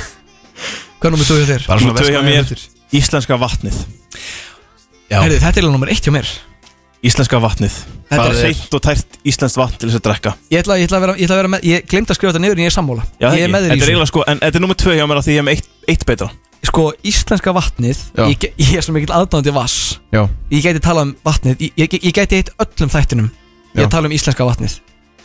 (laughs) Hvað er nummer 2 hjá þér? Bara svona hjá mér Íslenska vatnið Herðu, þetta er alveg nummer 1 hjá mér Íslenska vatnið Þetta Bara er- hreint og tært íslenskt vatn til þess að drekka Ég ætla, ég ætla að vera, ég ætla að vera með, ég glemt að skrifa þetta niður en ég er sammála Já, Ég er með þér í Þetta er þessu eiginlega sko En þetta er nummer 2 hjá mér af því ég er með eitt, eitt betra Sko, íslenska vatnið, Já. ég, ge- ég er svo mikill aðdáðandi vass Já Ég gæti talað um vatnið, ég, ég, ég gæti eitt öllum þættinum Ég Já. tala um íslenska vatnið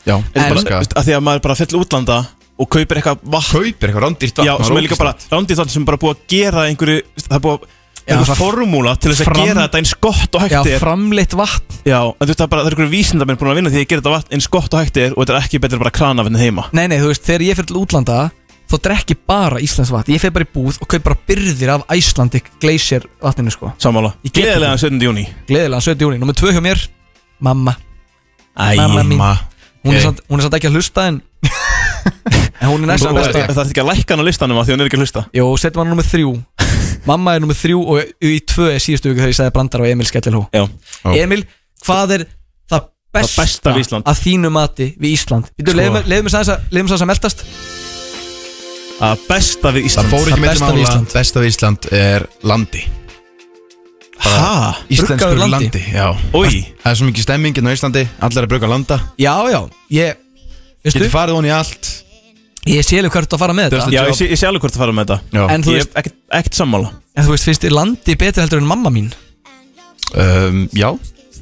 Já, en, bara, Elska. veist, að því að maður bara fyll útlanda og kaupir eitthvað vatn kaupir eitthvað rándýrt vatn já, maður sem er líka ógeðslegt. bara rándýrt vatn sem er bara búið að gera einhverju það er búið að einhver það- formúla til þess að Fram- gera þetta eins gott og hægt Já, er framleitt vatn já, en þú veist það er bara það er einhverju vísindamenn búin að vinna því að gera þetta vatn eins gott og hægt er og þetta er ekki betur bara kranafinn heima Nei, nei, þú veist, þegar ég fyrir til útlanda Þá drekki bara íslensk vatn Ég fyrir bara í búð og kaup bara byrðir af Icelandic Glacier vatninu, sko Sammála, Ég get gleðilega þetta. 17. júni Gleðilega 7. júni, nummer 2 hjá mér Mamma Æ, Mamma mín mamma. Hún er Hey. samt- hún er samt ekki að hlusta en (laughs) En hún er næst það það er ekki að lækka hann á listanum að því hún er ekki að hlusta Jó, setjum hann nummið þrjú Mamma er nummið þrjú og í tvö er síðustu viku þegar ég sagði brandar og Emil Skellilhó Já. Emil, hvað er það besta, besta við Ísland. að þínu mati við Ísland? Sko. Sko. Leðum við sæðis að meltast að besta við Ísland Það fór ekki með besta við mála Ísland. Besta við Ísland er landi Hæ? Íslenskur Bruggaður landi? landi, já Oi. Það er svo mikið stemmingin á Íslandi Allir er að bruga landa Já, já, ég veistu? Getur farið hon í allt Ég sé alveg hvert þú ert að fara með Já, þetta ég sé, ég sé alveg hvort það fara með þetta Já. En þú Ég veist- er ekkert- ekkert sammála En þú veist, finnst þér landi betur heldur en mamma mín? um, Já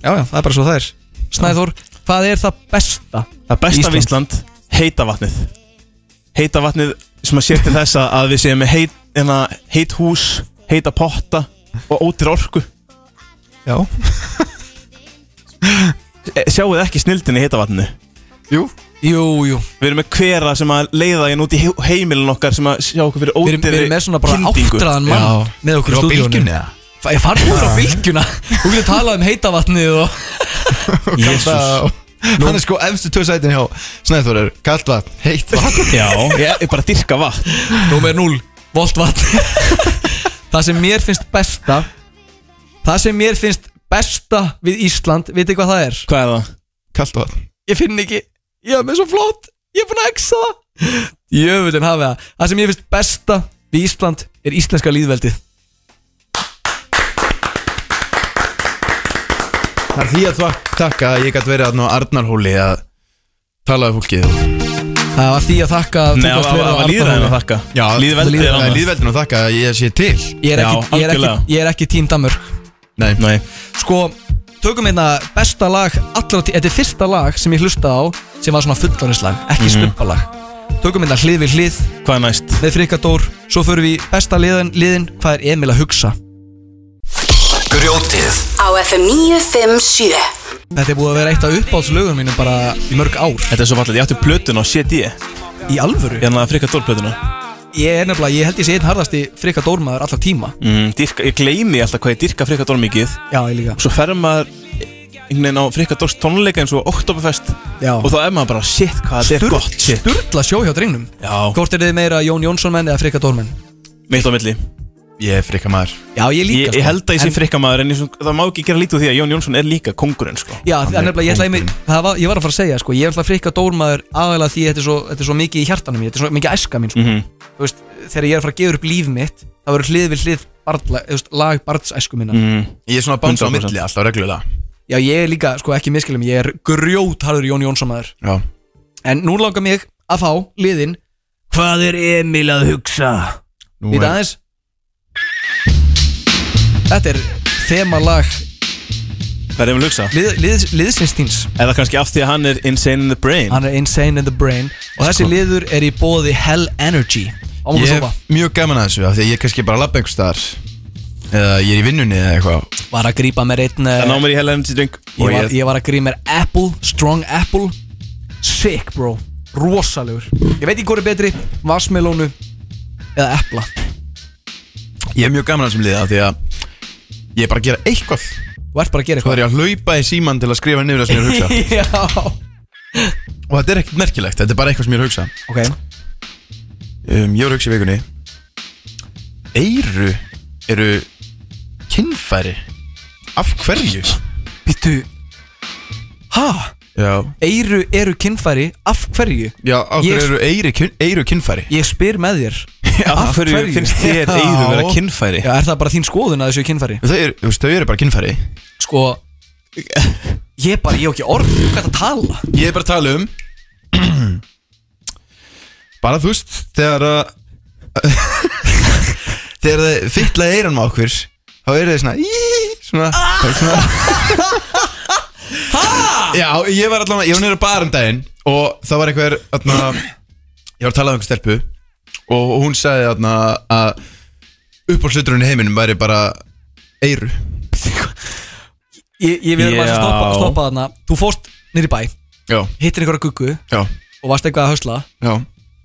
Já, já, það er bara svo það er Snæður, hvað er það besta? Það besta við Ísland, heita vatnið Heita vatnið sem að sér til þess að- að við séum með heit, hérna, heit hús, heita potta og ótir orku Já (laughs) Sjáu þið Eh, ekki snildin í heita vatninu? Jú Jú, jú Við erum með hvera sem að leiða hérna út í he- heimilin okkar sem að sjá okkur fyrir Við erum, við ótirri erum með svona bara kyndingu. áttræðan mann með okkur í Eru á stúdíónu. bylgjunni, eða? Fa- Ég farið úr á bylgjuna Þú getur talað um heitavatnið og Jesus Hann er sko efstu tvö sætin hjá Snæður er kallt vatn, heitt vatn Já, ég er bara að dyrka vatn Númer 0, voltvatn (laughs) Það sem mér finnst besta Það sem mér finnst besta við Ísland Vitið hvað það er? Hvað er það? Kallt vatn Ég finn ekki Ég er með svo flott Ég er búin að exa það Jöfullin hafið það Það sem mér finnst besta við Ísland Er íslenska líðveldið Það er því að þvak- þakka að ég gæti verið að ná Arnarhóli að tala við fólkið Það var því að þakka að þú Nei, gast það verið á var líðræðinu að Arnarhóli. þakka Já, Líðveldinu líðræðinu. það er líðveldinu að þakka að ég sé til Ég er ekki, ég er ekki, ég er ekki tím Danmörk Nei, Nei. Sko, tökum hérna besta lag allra tí Þetta er fyrsta lag sem ég hlustaði á sem var svona fullorðinslag, ekki mm Mhm. stubbalag Tökum hérna hlið við hlið Hvað er næst? Með frikadór, svo förum við í besta liðin, liðin Hvað er Emil að hugsa? Grjótið Á FM 957 Þetta er búið að vera eitt af uppáhaldslögum mínum bara í mörg ár Þetta er svo fallið, ég átti plötun á CD Í alvöru? Hérna frikadórplötuna Ég er nefnilega, ég held ég sé einn harðasti frikadórmaður allra tíma mm, dyrka, Ég gleymi alltaf hvað ég dyrka frikadór mikið Já, ég líka og svo fer maður einhvern veginn á Frikkadórs tónleika eins og Oktoberfest Já. og þá er maður bara shit hvað þetta er gott shit Sturla sjó hjá drengnum Já. Hvort er þið meira Jón Jónsson menn eða frikadórmenn? mitt á milli Ég er frikkamaður Já, ég líka, Ég, sko. held að ég sé En- frikkamaður en ég, svona- það má ekki gera lítið úr því að Jón Jónsson er líka kongurinn sko. Já, það er nefnilega, ég, ætlaði mig, það var, ég var að fara að segja sko, Ég er alltaf frikka dórmaður aðalega því þetta er, svo, þetta er svo mikið í hjartanum mér Þetta er svo mikið æska mín sko. Mhm. Þú veist, Þegar ég er að fara að gefa upp líf mitt Það verður hlið við hlið barla, veist, lag barnsæsku minna Mhm. Ég er svona að bounce á milli alltaf reglulega Já, ég er líka, sko, ekki miskilum Ég er grjótharður Jón Jónsson maður Já. En nú langar mig að fá liðin Hvað er Emil að hugsa? Nú Vita er- aðeins Þetta er þemalag Það er Emil Hugsa lið, lið, Liðsins þíns Eða kannski af því að hann er insane in the brain Hann er insane in the brain Og þessi Sko. liður er í bóði Hell Energy Ámur Ég sopa hef mjög gaman að þessu af Því að ég er kannski bara að labba einhvers staðar Eða ég er í vinnunni eða eitthvað Var að grípa mér einn eh, ná mér í hella energy drink ég var, ég var að gríma mér Apple, Strong Apple Sick bro, rosalegur Ég veit ekki hvort er betri, Vassmelónu Eða Epla Ég hef mjög gaman að þessum liða af Því að ég er bara að gera eitthvað Þú ert bara að gera eitthvað Svo er ég að hlaupa í síman til að skrifa niður það sem ég er (laughs) að hugsa Já (laughs) Og þetta er ekkert merkilegt, þetta er bara eitthvað sem ég er að hugsa Ok um, Ég var að hugsa í vikunni Eiru eru kynfæri Af hverju? Býttu Ha? Já Eiru eru kynfæri, af hverju? Já, af Ég- hverju eru eiru, kyn, eiru kynfæri? Ég spyr með þér (laughs) af hverju finnst (laughs) þér eyru vera kynfæri? Já, er það bara þín skoðun að þessu kynfæri? Þau eru, þú veist, þau eru bara kynfæri Sko Ég bara, ég hef ekki orð um Hvað það tala? Ég er bara að tala um (clears throat) Bara þú veist Þegar að (laughs) Þegar þið fytla eiran með okkur Þá eru þið svona "Í", Svona, svona. Já, ég var allavega Ég var nýra bara um daginn Og það var einhver atna, Ég var að tala um einhver stelpu Og hún sagði atna, að Uppáhaldslíturinn í heiminum væri bara Eiru Ég, ég við erum að Já. stoppa, stoppa þarna Þú fórst niður í bæ Já. Hittir einhverja guggu Já. Og varst eitthvað að hösla Já.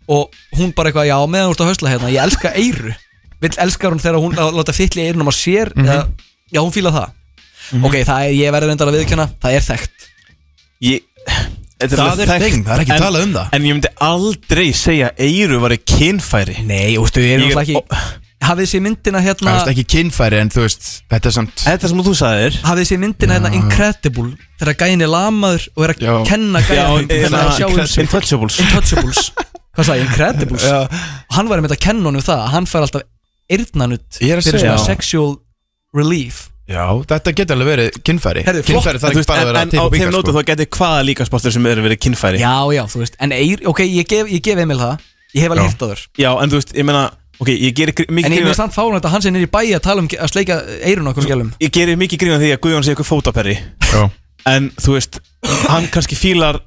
Og hún bara eitthvað Já, meðan þú ert að hösla hérna Ég elska eyru Vill elskar hún þegar hún lá- Láta fytli eyrunum að sér Mhm. eða, Já, hún fíla það Mhm. Ok, það er, ég verður endar að viðkjöna Það er þekkt Ég Þetta Það alveg er þekkt. þeng, það er ekki En- talað um það. En ég myndi aldrei segja að Eiru var í kynfæri Nei, ústu, ég er Ég er- náttúrulega ekki Hafið sér myndina Það hérna er ekki kynfæri en þú veist Þetta er samt Þetta sem þú sagðir Hafið sér myndina hérna Incredible Þegar gæin er lamaður Og er að kenna gæin Já, Þannig að sjá um sig. Intouchables Intouchables (laughs) Hvað sagði, ég? Incredibles Já. Og Hann var einmitt að kenna honum um það að Hann fær alltaf eyrnanutt Ég er að Fyrir segja. svona Já. sexual relief Já, þetta getur alveg verið kynfæri Herðu, flott. Kynfæri þarf En þú ekki bara að vera að En á teipa þeim bíkar nótum sko. þá geti hvaða líkasportur sem eru verið kynfæri Já, já, þú veist En eir, ok, ég gef, ég gef Emil það Ég hef alveg Já. hirt á þér Já, en þú veist, ég meina Ok, ég gerir gr- mikið En ég grín með að- samt fáin þetta Hann sem er í bæi að tala um Að sleika eirun okkur skjálum Ég gerir mikið grín að því að Guðjón sé eitthvað fótaperri Já En þú veist, hann kannski fílar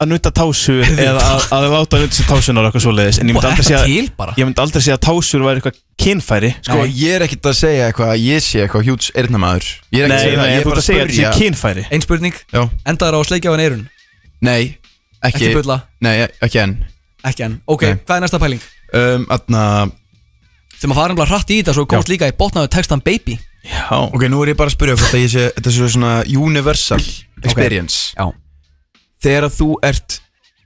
að nutta tásur eða að, að láta nutta sér tásunar eitthvað svoleiðis en ég myndi Og aldrei er segja það til bara? ég myndi aldrei segja að tásur væri eitthvað kynfæri Sko, ég er ekkert að segja eitthvað að ég sé eitthvað hjúts eirnamaður Ég er ekkert Nei, að segja nei, það, ég er þú ert bara að segja að þetta sé kynfæri Einn spurning Já. Endaður á að sleika á hann eirun Nei, ekki Ekki bulla? Nei, ekki enn Ekki enn Ok, Nei. hvað er næsta pæling? um, Atna Þegar maður farið bara hratt í þetta Svo komst líka í botnaðu textan baby Já Ok, nú er ég bara að spyrja hvort að ég sé Þetta sé svona universal experience Já Þegar að þú ert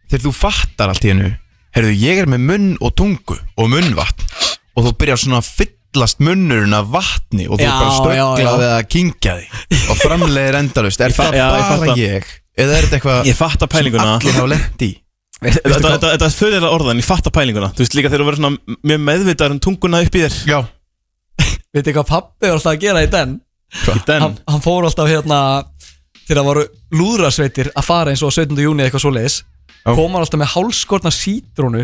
Þegar þú fattar allt í hennu Herðu, ég er með munn og tungu og munnvatn Og þú byrjar svona að fyllast munnurinn af vatni Og þú Já, er bara já, já. stöglað við að kingja þig Og framlegir endalust Er það já, ég bara fatta. ég? Eða er þetta eitthvað Ég fatta pælinguna Allir hafa lent í Þetta, þetta, þetta, þetta er fyrir orðan, ég fatta pælinguna Þú veist líka þegar þú verður svona mjög meðvitaður um tunguna upp í þér Já Veitir hvað pappi var alltaf að gera í den? Í den? Hann, hann fór alltaf hérna Þegar það voru lúðrasveitir að fara eins og á 17. júni eitthvað svoleiðis Kom hann alltaf með hálskorna sítrónu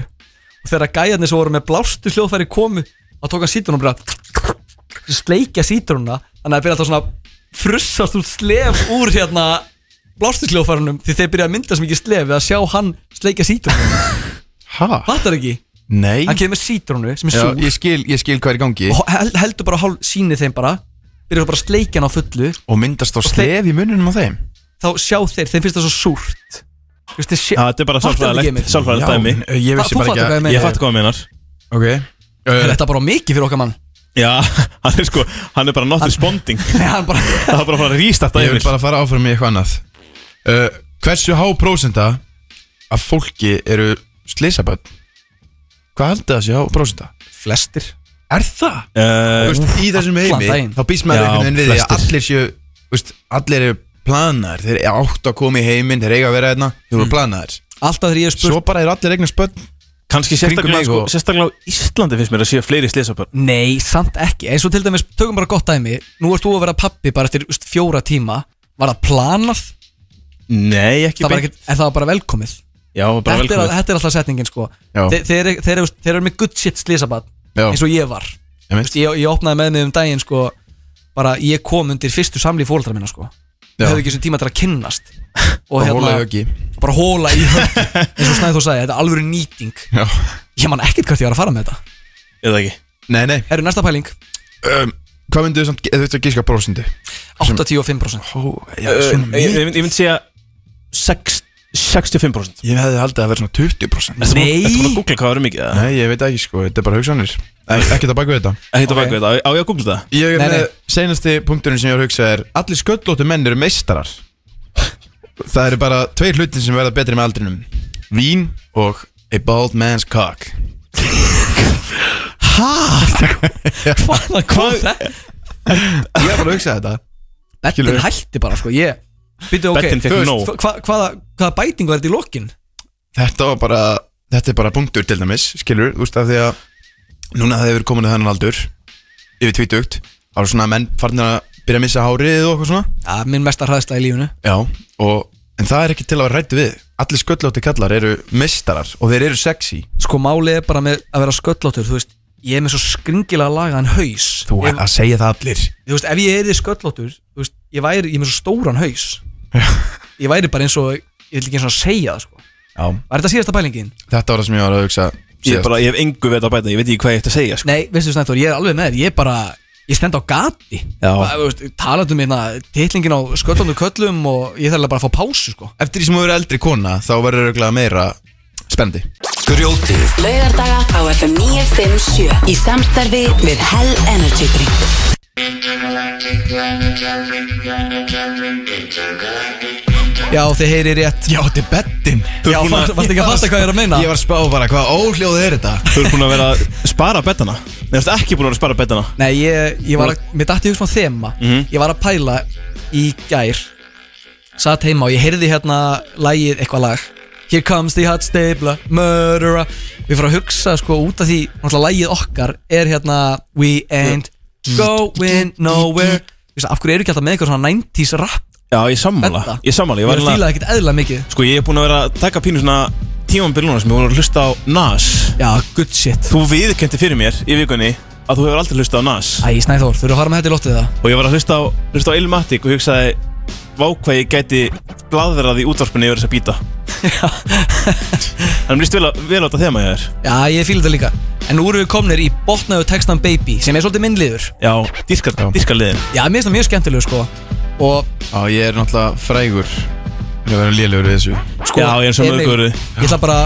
Og þegar gæjarnir sem voru með blástu hljóðfæri komu Þá tók hann sítrónu og bara Sleikja sítrónuna Þannig að það byrja alltaf svona að Frussast út slef úr hérna Blástu hljóðfærunum Því þeir byrja að mynda sem ekki slef Við að sjá hann sleikja sítrónu Ha? Fattar ekki? Nei Hann kemur með sítrónu sem er Já, súr ég skil, ég skil hvað er í gangi og hel- heldur bara hálf síni þeim bara byrjar bara að sleikja hann á fullu Og myndast þá slef í mununum á þeim þá sjá þeir, þeim finnst það svo súrt Þú veist, þeir sjá- Já, þetta er bara Fattar sálfræðilegt- ekki, Emil? sálfræðilegt Já, dæmi. en, uh, Ég vissi Þú bara fattar ekki að- hvað eh, ég fatta hvað hann meinar. Ok Eh, Er þetta bara mikið fyrir (laughs) okkar mann? Já, (laughs) hann er sko, hann er bara not responding (laughs) hann bara Það er bara að fara að rístarta Ég vil bara fara áfram í eitthvað annað uh, Hversu há prósenta af fólki eru slysaböld? Hvað heldur það sé há prósenta? Flestir Er það? Uh, Þú veist, í þessum allan heimi daginn. þá býst maður Já, einhvern veginn við því að flestir. allir séu þú veist, allir eru planaðar þeir eru átt að koma í heiminn, þeir eiga að vera hérna þeir eru planaðar Alltaf þegar ég er spurt Svo bara eru allir eignar spöld Kanski sérstaklega, sko, sérstaklega á Íslandi finnst mér að séu fleiri slésabörn Nei, samt ekki eins og til dæmis, tökum bara gott dæmi nú ert þú að vera pappi bara eftir þú veist, fjóra tíma Var það planað? Nei, ekki Það var beint. ekkert, en það var bara velkomið Já, var bara þetta, velkomið. Er, þetta er alltaf setningin sko Já. Þe- Þeir, þeir, þeir, þeir eru með good shit slísabat Já. eins og ég var Vist, ég, ég opnaði með mig um daginn sko bara ég kom undir fyrstu samli fólkdra minna sko Já. Ég hefði ekki sem tíma til að kynnast hérna- Og hóla í höggi. bara hóla í höggi eins og snæði þú sagði, þetta er alvöru nýting Já. ég man ekkert hvert ég var að fara með þetta Eða ekki Nei, nei Herru, næsta pæling um, Hvað myndu þau samt, eða þú ert að gíska prósendu? 85% Ó, já, Ö, svona ég, mikið ég, mynd- ég myndi segja sex- 65% Ég hefði haldið að vera svona 20% Ertu búin- ertu búin að googla hvað verður mikið? Nei, ég veit ekki sko, þetta er bara hugsanir Ekkert að baka við þetta Ekkert að baka við þetta, á ég að googla það? Ég er með seinasti punkturinn sem ég var að hugsa er Allir sköllóttu menn eru meistarar Það eru bara tveir hlutin sem verða betri með aldrinum Vín og a bald man's cock Hæ? Hvaðan kom þetta? Ég var bara að hugsa þetta Bettin Skilurðu? hætti bara sko ég, byrju, ok, Beddin fékk þú veist, nóg. hva, hvaða, hvaða bæting var þetta í lokin? Þetta var bara Þetta er bara punktur til dæmis, skilur Þú veist af því að Núna þegar við erum komin að þennan aldur Yfir tvítugt Það eru svona menn farnir að byrja að missa hárið og eitthvað svona Já, minn mesta hræðsla í lífinu Já, og, en það er ekki til að vera rætt við Allir sköllótti kallar eru mistarar Og þeir eru sexy sko málið er bara með að vera sköllóttur þú veist, ég er með svo skringilega lagaðan haus Þú Ég- er að segja það allir þú veist, ef ég er sköllóttur þú veist, ég væri, ég er með svo stóran haus ég væri bara eins og ég vil ekki eins og að segja það sko Já. var þetta síðasta pælingin? Þetta var það sem ég var að hugsa Ég, bara, ég hef engu veit að bæta, ég veit ekki hvað ég ætti að segja sko. nei, veistu Snættur, ég er alveg með þér ég er bara, ég stend á gati Já. Bara, þú veist, talandi um hérna titlingin á sköllóttu köllum og ég þarf alveg bara að fá pásu sko Eftir því sem þú eru eldri kona Þá verður auðvitað meira spendi Grjótið Laugardaga á FM 957 Í samstarfi við Hell Energy Drink já, þið heyri rétt já, þetta er bettin Þú ert búin að- varst ekki að fatta hvað ég er að meina Ég var að spá bara hvað óhljóð er þetta Hérna. Þú ert búin að vera að spara bettana Nei, þú ert ekki búin að vera að spara bettana Nei, ég, ég var að, mér dætti hugsa á þema Mhm. Ég var að pæla í gær Satt heima og ég heyrði hérna Lægið, eitthvað lag Here comes the hot stapler, murderer Við fyrir að hugsa sko út af því Náttúrulega lægið okkar er hérna We ain't going nowhere Þú veist, Af hverju eru ekki alltaf með eitthvað svona 90s rap Já, ég sammála Þetta? Ég sammála, Ég ég var var að fíla ekkert eðla mikið Sko, ég er búin að vera að taka pínu svona tímambil núna sem ég voru að hlusta á Nas Já, good shit Þú viðkendi fyrir mér í vikunni að þú hefur aldrei hlusta á Nas Æ, Snæþór, þú eru að fara með þetta í lottið það Og ég var að hlusta á, hlusta á Ilmatic og hugsaði Vá hvað ég gæti gladverðað í útvarpinu yfir þessa (laughs) býta Þannig líst vel á, vel á þetta þema ég er Já, ég fíla þetta líka En nú eru við komnir í botnaðu textan Baby Sem er svolítið minnliður Já, dýrkar, dýrkar liðin Já, mér finnst það mjög skemmtilegu sko Og Já, ég er náttúrulega frægur Ég verður lélegur við þessu sko, Emil, Ég ætla bara,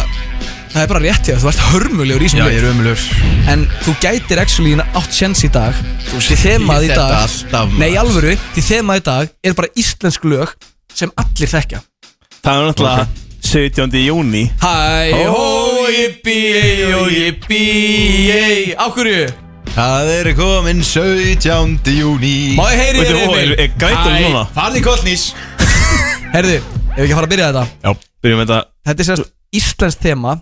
það er bara rétt hjá þér, þú ert hörmulegur í þessum Já, leik. ég er ömulegur En þú gætir actually átt sjens í dag Þú því þemað í þetta dag alltaf, maður. Nei, í alvöru, því þemað í dag er bara íslensk lög sem allir þekkja Það er náttúrulega 17. júni Hæ, Ó, jippi, ei, ó, jippi, ei Á hverju? Það er komin 17. júni Má ég heyri þér, Emil? Hæ, Farði kollnís Herðu, ef við ekki að fara að byrja þetta Já, byrjum með þetta Þetta er sérst íslensk þema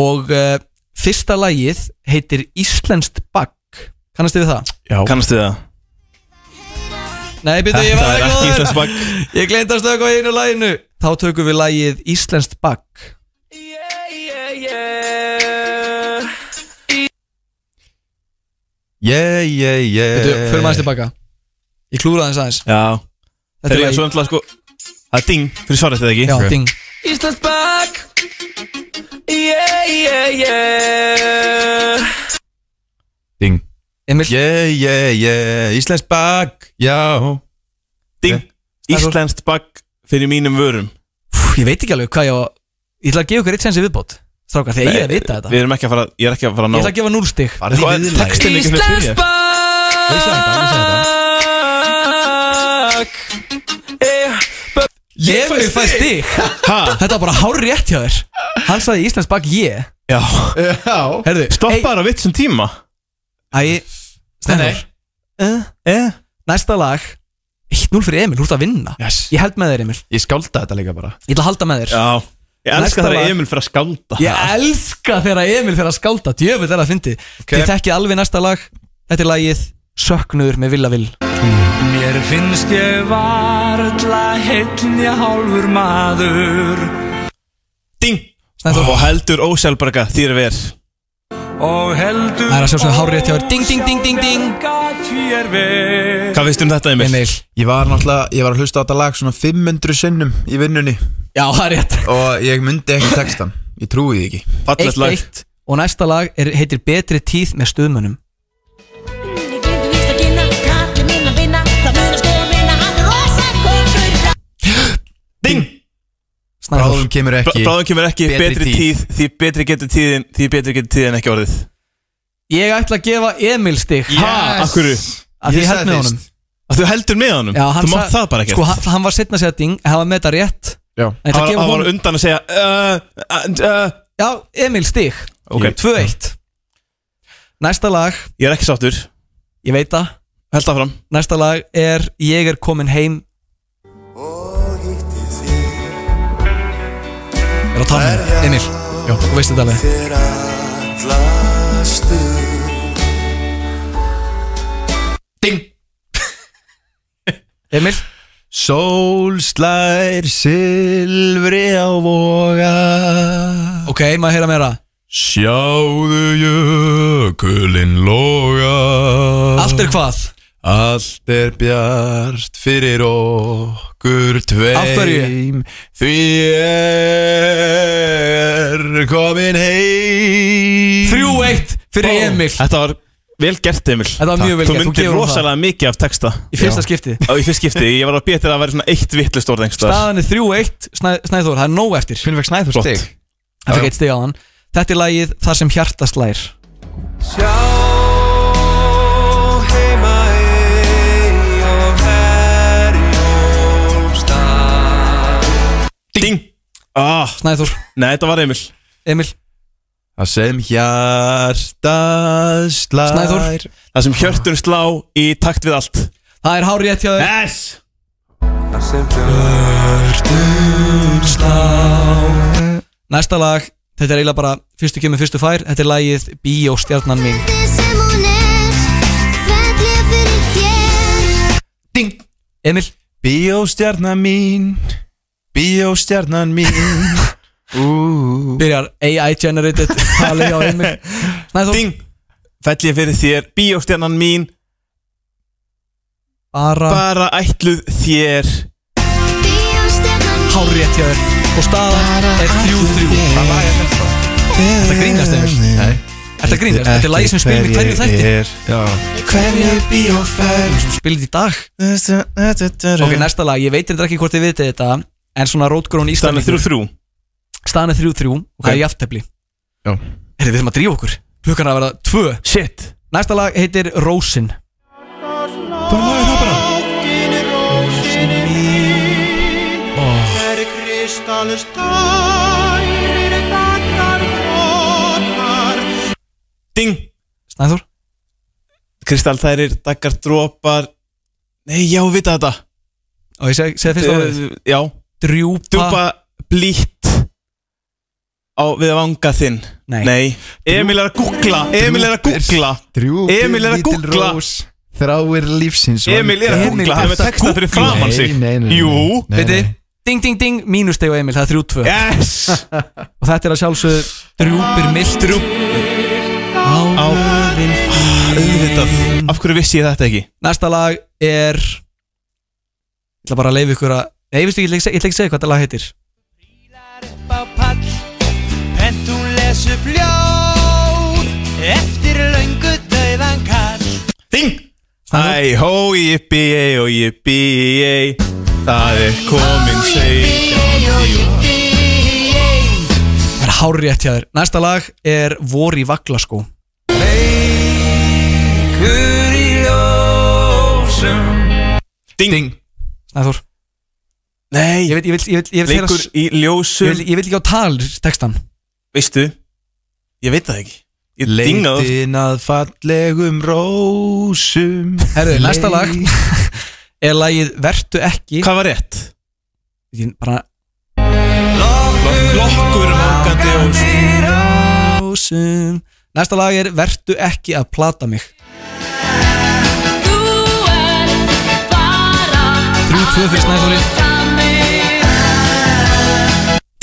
Og uh, fyrsta lagið heitir Íslenskt bagg Kannast þið við það? Já. Kannast þið það? Nei, byrju, ég (laughs) Þetta var er ekki ekki góður. íslenskt bagg. Ég glemt að stöka á einu laginu Þá tökum við lagið Íslenskt bagg Yeah, yeah, yeah Þetta, Eh. fyrir maður tilbaka Ég klúraði aðeins aðeins Já Þetta Þetta er er lagi. svo endla sko Það er ding fyrir svarið þetta ekki Já, ding. Íslands bak Yeah, yeah, yeah Ding Emil Yeah, yeah, yeah Íslensk bak Já Ding Íslenskt bagg fyrir mínum vörum Pff, Ég veit ekki alveg hvað ég á Ég ætla að gefa ykkur eitt sensi viðbót Strákar, þegar ég er að vita þetta Við erum ekki að fara Ég er ekki að fara að ná Ég ætla að gefa núl stig Farðu í viðlagið. Textinn er ekki fyrir byrja. Eh, Ég vil fæ stig Þetta var bara hár rétt hjá þér Hann sagði Íslensk bagg ég Já Já Herðu Stoppaður Eh, á vitsum tíma Æ Stendur Eh Næsta lag 1-0 fyrir Emil, þú ert að vinna yes. Ég held með þér Emil Ég skálda þetta líka bara Ég ætla að halda með þér Já Ég Næsta elska það lag. að Emil fyrir að skálda Ég elska þegar Emil fyrir að skálda Djöfull er að fyndi Þið þekkið alveg næsta lag Þetta er lagið Söknuður með Villa Vill Mér finnst ég varla heitnja hálfur maður Ding Og heldur ósjálfbarga þýr ver Og heldur Það er að sjálfsögðu hárrétt hjá þér. Ding, ding, ding, ding, ding. Gat þér vel Hvað finnst um þetta Emil? Emil Ég var náttúrulega, ég var að hlusta á þetta lag svona 500 sinnum í vinnunni Já, það er rétt Og ég myndi ekki textan, ég trúi því ekki Eitt, eitt Og næsta lag er, heitir Betri tíð með stuðmönnum Bráðum kemur ekki Bráðum kemur ekki betri betri, tíð. Því betri getur tíðin Því betri getur tíðin ekki orðið Ég ætla að gefa Emil stig Ha, af hverju? Af því ég held með honum Að þú heldur með honum? Já, hann Þú mátt sa- það bara ekki Sko, hann, hann var setna að segja ding en Hann var með þetta rétt Já En ég ætla að Hann gefa hann var honum- undan að segja uh, uh, uh, Já, Emil stig Ok. 2-1 Næsta lag Ég er ekki sáttur Ég veit það Held áfram Næsta lag er Ég er komin heim Er á tannum Emil Já, þú veist þetta alveg (laughs) Emil Sólslær silfri á voga Ok, maður heyra meira Sjáðu jökulinn loga Allt er hvað? Allt er bjart fyrir okkur tveim Af hverju? Því er komin heim 3-1 fyrir Bó. Emil Þetta var vel gert Emil Þetta var mjög vel gert, þú Þú myndir gefur honum rosalega mikið af texta Í fyrsta skipti. Já, í fyrsta skipti Ég var að betra að vera svona eitt vittlust orð einhvers staðar. Staðan er 3-1 Snæ- Snæþór, það er nóg eftir Hvernig fekk Snæþór Flott. stig? Hann fekk eitt stig á hann Þetta er lagið Það sem hjarta slær Sjá heima ei og herjum stað Ding ah. Snæður Nei, þetta var Emil Emil Það sem hjartað slær Snæður Það sem hjörtun slá í takt við allt Það er hár rétt hjá þér Yes Það sem björnum slá Næsta lag Þetta er eiginlega bara Fyrstu kemur fyrstu fær Þetta er lagið Bíó stjarnan mín Ding Emil Bíóstjarnan mín Bíóstjarnan mín Ú. Byrjar AI generated Talið á Emil Snæður Ding Fell ég fyrir þér Bíóstjarnan mín Bara Bara ætluð þér Hár rétt hjá þér Og staðan er 3-3 Það lag er þetta Þetta grínast Emil Nei Þetta grínast Þetta er lagið sem spilum í hverju þætti Hverju bíóferð Spilum í dag Ok, næsta lag, ég veit þetta ekki hvort þið vitið þetta En svona rótgrón Staðan er Íslandingur 3-3. Staðan er 3-3 og það er jafntefli Já Herri, við þurfum að drífa okkur Klukkan er að verða 2 Shit Næsta lag heitir Rósin Hvað lag er það bara? Ding Snæður Kristall þærir Daggar dropar Nei, já, við vita þetta Og ég seg, segi fyrst á það Eh, Já Drjúpa Drjúpa blítt Á við vanga þinn Nei. Emil er að googla Emil er að googla Drjúpi Emil er að lítil googla rós Þráir lífsins Emil er að googla Hann er með texta fyrir framann sig Nei, nei, nei, nei. Jú Nei, Veit nei. þið? Ding, ding, ding, mínusteg og Emil, það er 3-2 Yes Og þetta er að sjálfsögðu drjúpir mild Drjúp Á Ah, Auðvitað (laughs) Af hverju vissi ég þetta ekki? Næsta lag er Ég ætla bara að leifa ykkur að Nei, ég veist ekki, ég ætla ekki að seg- ég ætla ekki að segja hvað þetta lag heitir á pall En þú les upp ljóð Eftir löngu döðan kall Ding Æ, hó, jippi, ei, og jippi, ei Það er komin seg Það er hár rétt hjá þér Næsta lag er Vor í sko. Vaglaskó Leikur í ljósum Ding, Ding. Snæður Nei Ég vil, ég vil, ég vil, ég vil Leikur í ég ljósum vil, ég vil ekki á tal textan Veistu, ég veit það ekki Ég dinga það Leitin að fallegum rósum Herðu, næsta lag (laughs) er lagið Vertu ekki Hvað var rétt? Ég bara Lokkur mokandi og Rósum Næsta lag er Vertu ekki að plata mig Þú ert tvö fyrir Snæþóri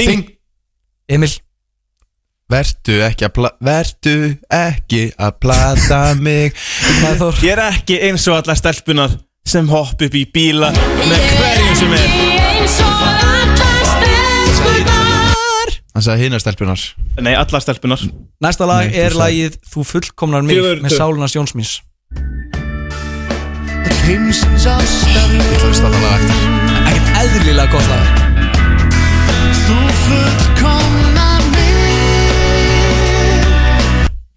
Ding Emil Vertu ekki að pla Vertu ekki að plata mig Snæþór Ég er ekki eins og allar stelpunar sem hopp upp í bíla með hverjum sem er Hann sagði hinar stelpunar Nei, allar stelpunar Næsta lag Nei, er þú sagðir. lagið Þú fullkomnar mig Fjögur, með tvö. sálunas Jónsmins Heimsins ástarljóð Ekkert eðlilega gott lag Þú fullkomna mig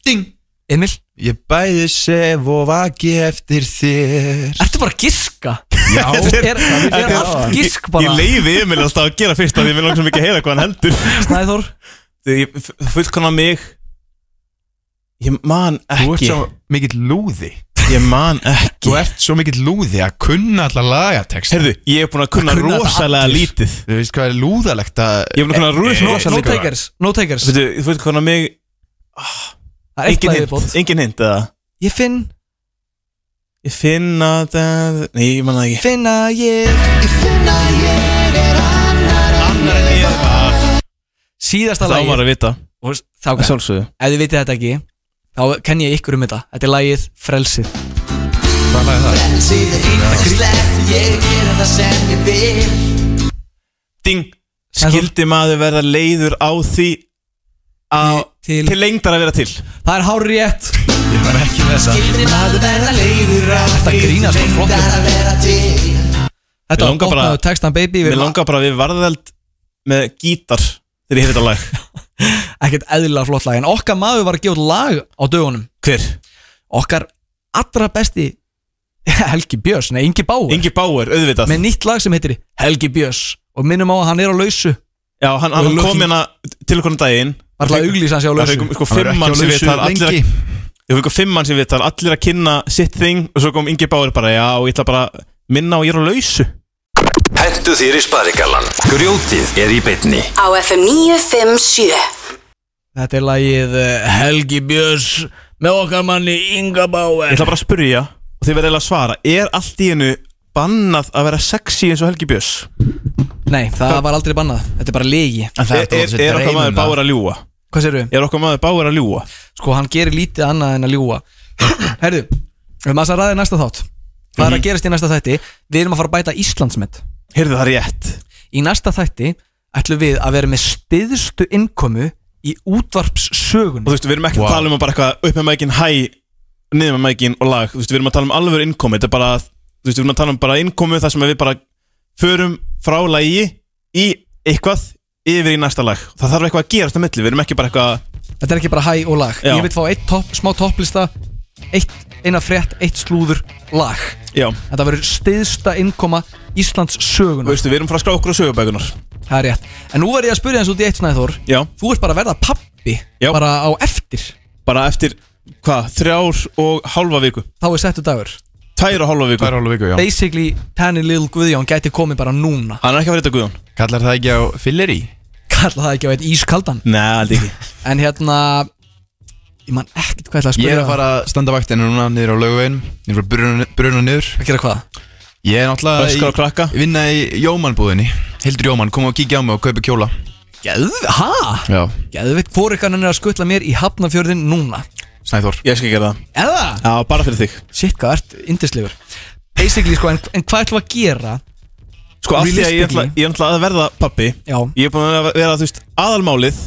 Ding Emil Ég bæði sef og vaki eftir þér Ertu bara að giska? Já Þetta er- þetta er allt gisk bara. Ég, ég leiði Emil alltaf að gera fyrst af því ég vil langsam ekki að heyra hvað hann heldur Snæður Þú fullkona mig Ég man ekki Þú ert svo mikill lúði Ég man ekki Þú ert svo mikill lúði að kunna allar lagatext Heyrðu, ég er búin að kunna rosalega lítið Þú veist hvað er lúðalegt að Ég er búin að kunna Eh, eh, rosalega no lítið takers, no takers Þú veitu, þú fullkona mig Það er eitt Engin lagið hint, viðbót. engin hint eða Ég finn Ég finn að það Nei, ég man það ekki Finn að ég Annar en ég Ah, Síðasta Það lagið var að vita Og veist, þá Að sjálfsögðu. Ef þið vitið þetta ekki Þá kenn ég ykkur um þetta Þetta er lagið Frelsið Hvað lag er það? Frelsið er ítaklegt, ég gera það sem ég vil Ding Skildi maður verða leiður á því að til, lengdar að vera til Það er hár rétt Ég var ekki með þessa Skildi maður verða leiður á Þetta grínast til bara flott. lengdar að vera til Þetta Mér langar bara- opnaðu textan baby Mér langar bara við varðeld með gítar þegar ég hefði þetta lag Ekkert eðlilega flott lag En okkar maður var að gefa út lag á dögunum Hver? Okkar allra besti (laughs) Helgi Björns Nei, Ingi Báur Ingi Báur, auðvitað Með nýtt lag sem heitir Helgi Björns Og minnum á að hann er á lausu Já, hann, Og hann lögin- kom hérna til okkur um daginn Var alltaf að auglýsa hann sé á lausu. Það fengum sko Hann var fimm ekki á lausu mann sem við þar allir að lengi. Ég fengum fimm mann sem við þar allir að kynna sitt þing og svo kom Ingi Báur bara já, ég ætla bara að minna og ég er á lausu Hentu þér í sparigallan Grjótið er í beinni Á FM 957 Þetta er lagið eh, Helgi Björns Með okkar manni Inga Báur Ég ætla bara að spyrja og þið verða eiginlega að svara Er allt í hennu bannað að vera sexy eins og Helgi Björns? Nei, það var aldrei bannað Þetta er bara legi Er, er, er okkar maður Báur að ljúa? Hvað sérðu? Er okkar maður Báur að ljúa? Sko, hann gerir lítið annað en að ljúa (clears throat) Herðu, við maður að ræða í næsta þátt Hvað er að Mhm. gerast í næsta þætti? Við erum að fara að bæta Íslandsmet Heyrðu það rétt Í næsta þætti ætlum við að vera með stiðstu innkomu í útvarpssögun Og þú veist, við erum ekki að tala um bara eitthvað upp með mækin hæ, niður með mækin og lag Þú veist, við erum að tala um alvöru innkomi Þetta er bara, þú veist, við erum að tala um bara innkomi þar sem við bara förum frá lagi í eitthvað yfir í næsta lag Það þarf eitthvað að gerast á milli, við erum ekki bara eitthvað Þetta er ekki bara hæ og lag Já. Ég vil fá eitt topp, smá topplista eitt, Eina frétt, eitt slúður, lag Já, Þetta verður stiðsta innkoma Íslands sögunar veistu, við erum að fara að skrá okkur á sögubækunar Það er rétt En nú verður ég að spyrja eins út í eitt snæður Já. Þú ert bara að verða pappi Já. Bara á eftir Bara eftir, hvað, þrjár og hálfa viku Þá er settu dagur Tæra hálfa viku Tvær og hálfa viku, já Basically, Tanny Lil Guðjón gæti komið bara núna Hann er ekki að vera þetta Guðjón Kallar það ekki á filler í? Kalla það ekki á eitt ískaldan Nei, aldrei ekki (laughs) En hérna Ég man ekkert hvað ég ætla að Ég spyrja um. er að fara að standa vaktinu núna niður á laugveginum Niður frá bruna, bruna niður Að gera hvað? Ég er náttúrulega Öskra á krakka. í, vinna í jómannbúðinni Hildur Jómann, kom og kíkja á mig og kaupi kjóla Geðveikt, ha? Já Geðveikt, hvor eitthvað hann er að skutla mér í hafnafjörðin núna Snæþór Ég skal gera það Eða? Já, bara fyrir þig Shit, hvað ert indislegur Basically, sko, en, en hvað ætlum við að gera? Sko af því að ég ætla, Realistically. ég ætla að verða pappi Já. Ég er búin að vera- vera, þú veist, aðalmálið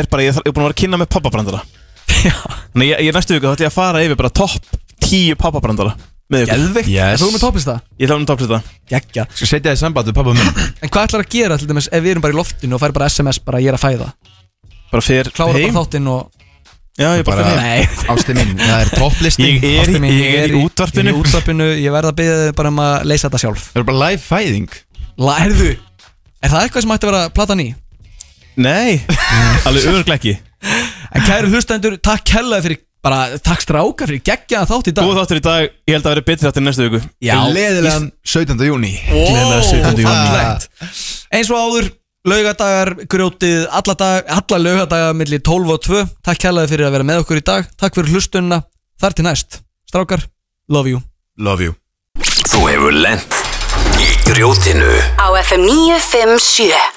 Er bara, ég þarf- ég er búin að vera að kynna með (laughs) pappabrandara Þannig ég, ég er næstu viku, þá ætla ég að fara yfir bara topp 10 pappabrandara Með ykkur Geðveikt, Yes. yes. þú erum með topplista Ég ætla að toppa þetta Gekja Skal Sko, setja þið samband við pappa minn En hvað ætlar að gera til dæmis ef við erum bara í loftinu og fær bara SMS bara ég er að fæða Bara fyrir Klára heim bara þáttinn og Já, ég bara, Bara- bara Nei Ásti minn, það er topplisti Ég er, Ástin mín, ég, er í Ég er í útvarpinu útvarpinu, ég verð að byggja þið bara um að leysa þetta sjálf Það er bara live fæðing Lærðu Er það eitthvað sem ætti að vera platan í? Nei, alveg örglega ekki En kæru hlustendur, takk hella fyrir bara, takk stráka fyrir geggjaðan þátt í dag Góð þáttur í dag, ég held að vera betri þáttur næstu viku Já, Leðilegan 17. júni Gleðilega 17. júní. Eins og áður, laugadagar, grjótið, alla, dag, alla laugadagar milli 12 og 2 Takk hella fyrir að vera með okkur í dag Takk fyrir hlustunna, þar til næst Strákar, love you Love you Þú hefur lent í grjótinu á FM 957